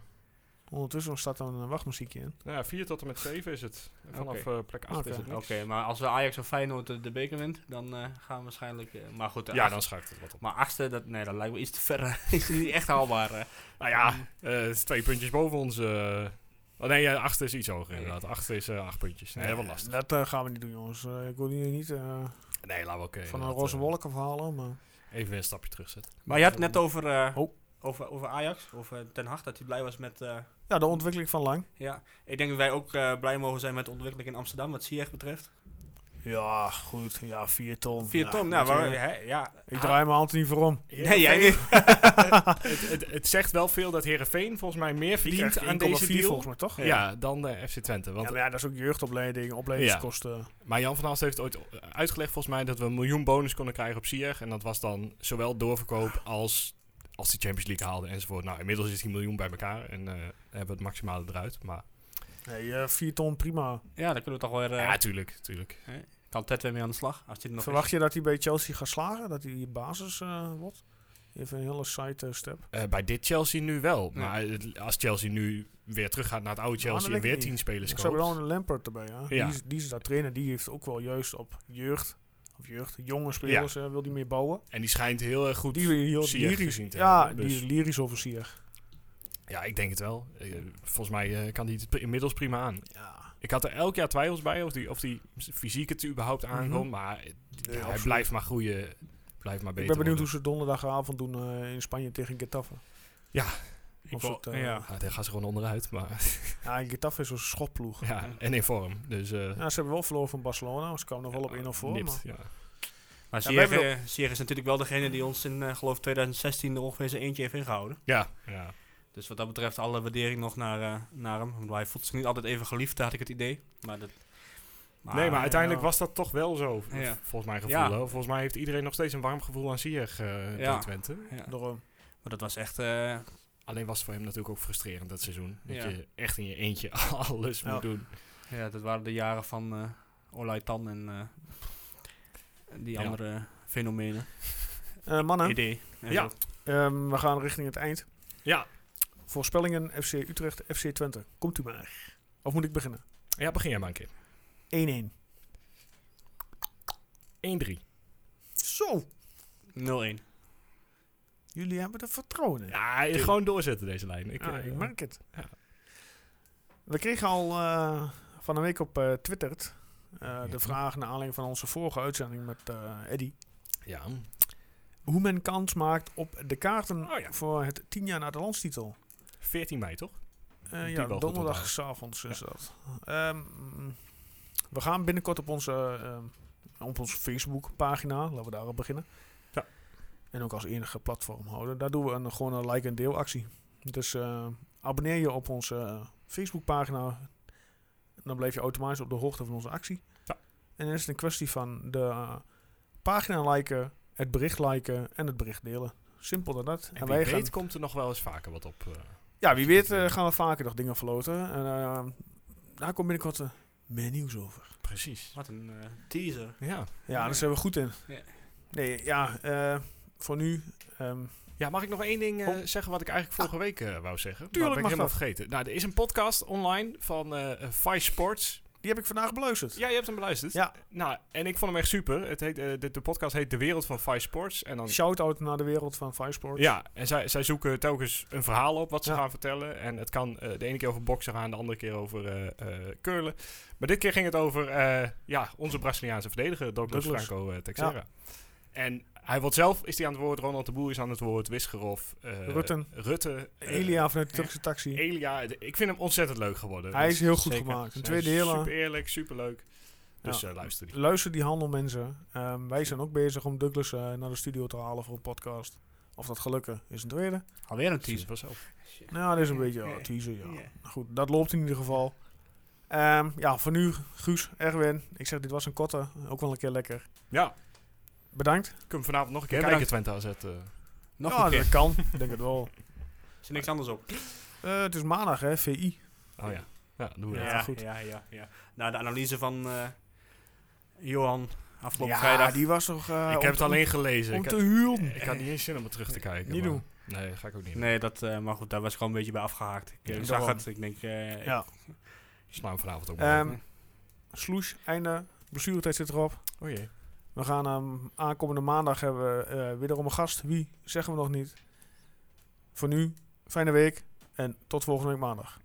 S1: Ondertussen staat er een eh, wachtmuziekje in.
S2: Nou ja, 4 tot en met 7 is het. En Vanaf eh, plek 8
S1: Oké.
S2: is het
S3: Oké,
S2: niks.
S3: maar als we Ajax of Feyenoord eh, de beker wint, dan eh, gaan we waarschijnlijk... eh, maar goed, de
S2: Ja,
S3: acht-
S2: dan schuift het wat op.
S3: Maar achtste, dat, nee, dat lijkt me iets te ver. is niet echt haalbaar. eh.
S2: Nou ja, eh, het is twee puntjes boven ons. eh. Oh nee, ja, achtste is iets hoger inderdaad. Achtste is eh, acht puntjes. Nee, wat lastig.
S1: Dat eh, gaan we niet doen, jongens. Eh, ik wil hier niet eh,
S2: Nee, laten we ook eh,
S1: van een
S2: inderdaad,
S1: roze
S2: eh,
S1: wolk verhalen, maar...
S2: Even weer een stapje terugzetten.
S3: Maar je had het net over, eh,
S1: Oh.
S3: over, over Ajax, over Ten Hag, dat hij blij was met... eh,
S1: Ja, de ontwikkeling van Lang.
S3: Ja, ik denk dat wij ook eh, blij mogen zijn met de ontwikkeling in Amsterdam, wat Ziyech betreft.
S1: Ja, goed. Ja, vier ton.
S3: Vier
S1: Ja,
S3: ton, nou,
S1: goed,
S3: waar,
S1: eh,
S3: hè, ja.
S1: Ik draai mijn hand niet voor om.
S3: Nee, jij niet.
S2: het, het, het zegt wel veel dat Herenveen volgens mij meer
S1: Die krijgt
S2: verdient aan deze
S1: 1,4
S2: deal.
S1: volgens mij, toch?
S2: Ja, dan eh, FC Twente. Want,
S1: ja, maar ja, dat is ook jeugdopleiding, opleidingskosten.
S2: Maar Jan van Aalst heeft ooit uitgelegd volgens mij dat we een miljoen bonus konden krijgen op Sieg. En dat was dan zowel doorverkoop als als die Champions League haalde enzovoort. Nou, inmiddels is die miljoen bij elkaar en eh, hebben we het maximale eruit. Maar
S1: Nee, eh, vier ton, prima.
S3: Ja, dan kunnen we toch weer... eh,
S2: ja, tuurlijk, tuurlijk.
S3: kunnen Kan Ted weer mee aan de slag? Als hij er nog
S1: Verwacht je dat hij bij Chelsea gaat slagen? Dat hij basis eh, wordt? Even een hele side eh, step.
S2: Eh, bij dit Chelsea nu wel. Maar het- als Chelsea nu weer teruggaat naar het oude
S1: dat
S2: Chelsea en
S1: weet
S2: weer
S1: ik
S2: tien
S1: niet.
S2: spelers
S1: Ik zou wel
S2: koopt.
S1: een Lampert erbij. Ja.
S2: Ja.
S1: Die, is, die is daar trainer. Die heeft ook wel juist op jeugd, of jeugd, jonge spelers eh, wil die meer bouwen.
S2: En die schijnt heel erg goed
S1: Die wil je heel
S2: Ziyech
S1: lyrisch.
S2: gezien te
S1: Ja,
S2: hebben,
S1: die
S2: dus-
S1: is lyrisch over Sier.
S2: Ja, ik denk het wel. Eh, Volgens mij eh, kan hij het pri- inmiddels prima aan.
S1: Ja.
S2: Ik had er elk jaar twijfels bij of die, of die s- fysiek het überhaupt aankomt.
S1: Mhm.
S2: Maar eh, d-
S1: Nee,
S2: hij
S1: absoluut.
S2: blijft maar groeien. Blijft maar beter
S1: Ik ben benieuwd hoe ze
S2: worden.
S1: donderdagavond doen eh, in Spanje tegen Getafe.
S3: Ik
S1: Of
S3: wil-
S1: het, eh,
S3: ja.
S2: Ja, daar gaan ze gewoon onderuit. Maar,
S1: Ja, en Getafe is een schopploeg.
S2: ja, en in vorm. Dus eh,
S1: Ja, ze hebben wel verloren van Barcelona. dus Ze kwamen nog wel op 1-0 voor.
S2: nipt,
S1: Maar
S2: ja.
S3: Maar
S1: Ja, we
S3: Sierg
S1: hebben
S3: is natuurlijk wel degene die ons in, eh, geloof 2016 er ongeveer zijn eentje heeft ingehouden.
S2: Ja, ja.
S3: Dus wat dat betreft alle waardering nog naar, eh, naar hem. Want hij voelt zich niet altijd even geliefd, had ik het idee. Maar dat,
S2: nee, maar uiteindelijk
S1: ja.
S2: was dat toch wel zo. v-
S3: Ja.
S2: Volgens mijn gevoel.
S3: Ja.
S2: hoor. Volgens mij heeft iedereen nog steeds een warm gevoel aan Sier eh
S3: Ja.
S2: bij Twente.
S3: ja, maar
S1: daarom.
S3: dat was echt... eh,
S2: Alleen was het voor hem natuurlijk ook frustrerend dat seizoen. Dat
S3: Ja.
S2: je echt in je eentje alles
S1: Ja.
S2: moet doen.
S3: ja, dat waren de jaren van eh Olay Tan en eh, die
S2: Ja.
S3: andere fenomenen.
S1: Eh, mannen,
S3: Idee. en
S2: Ja.
S3: zo.
S1: ehm, we gaan richting het eind.
S2: Ja.
S1: Voorspellingen FC Utrecht, FC Twente. Komt u maar. Of moet ik beginnen?
S2: ja, begin jij maar een keer.
S1: 1-1.
S2: 1-3.
S1: Zo,
S3: 0-1.
S1: jullie hebben er vertrouwen in.
S2: Ja, gewoon doorzetten deze lijn. Ik,
S1: Ik, ah,
S2: eh,
S1: ik merk het.
S2: ja.
S1: We kregen al eh, van een week op eh Twitter eh,
S2: Ja.
S1: de vraag naar aanleiding van onze vorige uitzending met eh Eddy.
S2: Ja.
S1: Hoe men kans maakt op de kaarten
S2: Oh ja.
S1: voor het 10 jaar na de landstitel.
S2: 14 mei, toch?
S1: Eh,
S2: Die
S1: ja,
S2: wel goed
S1: donderdagavond is dat. Ehm, we gaan binnenkort op onze, ehm, op onze Facebookpagina, laten we daarop beginnen.
S2: Ja.
S1: En ook als enige platform houden. Daar doen we een, gewoon een like- en deelactie. Dus eh, abonneer je op onze eh, Facebookpagina. En dan blijf je automatisch op de hoogte van onze actie.
S2: Ja.
S1: En dan is het een kwestie van de eh, pagina liken, het bericht liken en het bericht delen. Simpel dan dat.
S2: En, wie weet komt er nog wel eens vaker wat op. eh.
S1: Ja, wie weet eh, gaan we vaker nog dingen verloten. En eh, daar komt binnenkort eh, meer nieuws over.
S2: precies.
S3: Wat een eh, teaser.
S2: Ja.
S1: Ja, daar zijn we goed in.
S3: Ja.
S1: Nee, ja, eh, voor nu. ehm,
S2: ja, mag ik nog één ding eh,
S1: Oh.
S2: zeggen wat ik eigenlijk vorige week eh, wou zeggen?
S1: Tuurlijk
S2: maar ben
S1: mag
S2: ik helemaal
S1: dat.
S2: vergeten. Nou, er is een podcast online van eh eh, Vice Sports.
S1: die heb ik vandaag beluisterd.
S2: Ja, je hebt hem beluisterd.
S1: Ja.
S2: Nou, en ik vond hem echt super. Het heet, eh, de, de podcast heet De Wereld van Vice Sports. En dan
S1: Shout-out naar de wereld van Firesport.
S2: Ja, en zij, zij zoeken telkens een verhaal op wat ze
S1: Ja.
S2: gaan vertellen. En het kan eh, de ene keer over boksen gaan, de andere keer over eh eh, curlen. Maar dit keer ging het over eh, ja, onze Braziliaanse verdediger, Douglas
S1: Douglas.
S2: Franco eh, Texera. En hij wordt zelf, is hij aan het woord, Ronald de Boer is aan het woord, Wisgerov, eh,
S1: Rutten.
S2: Rutte eh,
S1: Elia vanuit de Turkse taxi.
S2: Elia. De- Ik vind hem ontzettend leuk geworden.
S1: Hij is heel goed
S2: Zeker.
S1: gemaakt. Een
S2: Hij is
S1: tweede deel.
S2: Super eerlijk, super leuk. Dus
S1: Ja.
S2: eh, luister die.
S1: Luister die handel mensen. Ehm, wij zijn ook bezig om Douglas eh, naar de studio te halen voor een podcast. Of dat gelukken is een tweede.
S3: Alweer een
S2: Zie het
S3: teaser.
S2: wel zelf.
S1: Nou, dat is een beetje
S3: Ja.
S1: ja, teaser, ja.
S3: Ja.
S1: Goed, dat loopt in ieder geval. Ehm, ja, voor nu, Guus, Erwin. Ik zeg, dit was een korte. Ook wel een keer lekker.
S2: Ja,
S1: Bedankt.
S2: ik hem vanavond nog een keer
S3: Ja,
S2: kijken, Twente AZ. eh.
S3: Nog
S1: ja,
S3: een keer.
S1: dat kan. Ik denk het wel.
S3: Er zit niks anders op.
S1: Eh, het is maandag, hè, VI.
S2: Oh ja, ja doen we
S1: Ja,
S2: dat.
S1: goed.
S3: Ja, ja, ja. Nou, de analyse van eh, Johan afgelopen
S1: ja,
S3: vrijdag.
S1: die was toch... eh,
S2: ik
S1: om
S2: heb het
S1: te-
S2: alleen gelezen.
S1: Om
S2: Ik,
S1: te huilen.
S2: ik had niet eens zin om het terug te kijken.
S1: Niet
S2: maar-
S1: doen.
S2: Nee, ga ik ook niet. doen.
S3: Nee, dat, eh, maar goed, daar was ik gewoon een beetje bij afgehaakt. Ik eh,
S1: Ja,
S3: zag
S1: daarom.
S3: het, ik denk... eh,
S1: Ja.
S2: Sla hem vanavond ook maar.
S1: Ehm sloes, einde. Blessuretijd zit erop.
S2: oh jee.
S1: We gaan ehm, aankomende maandag hebben we eh, wederom een gast. Wie, zeggen we nog niet. Voor nu, fijne week. En tot volgende week maandag.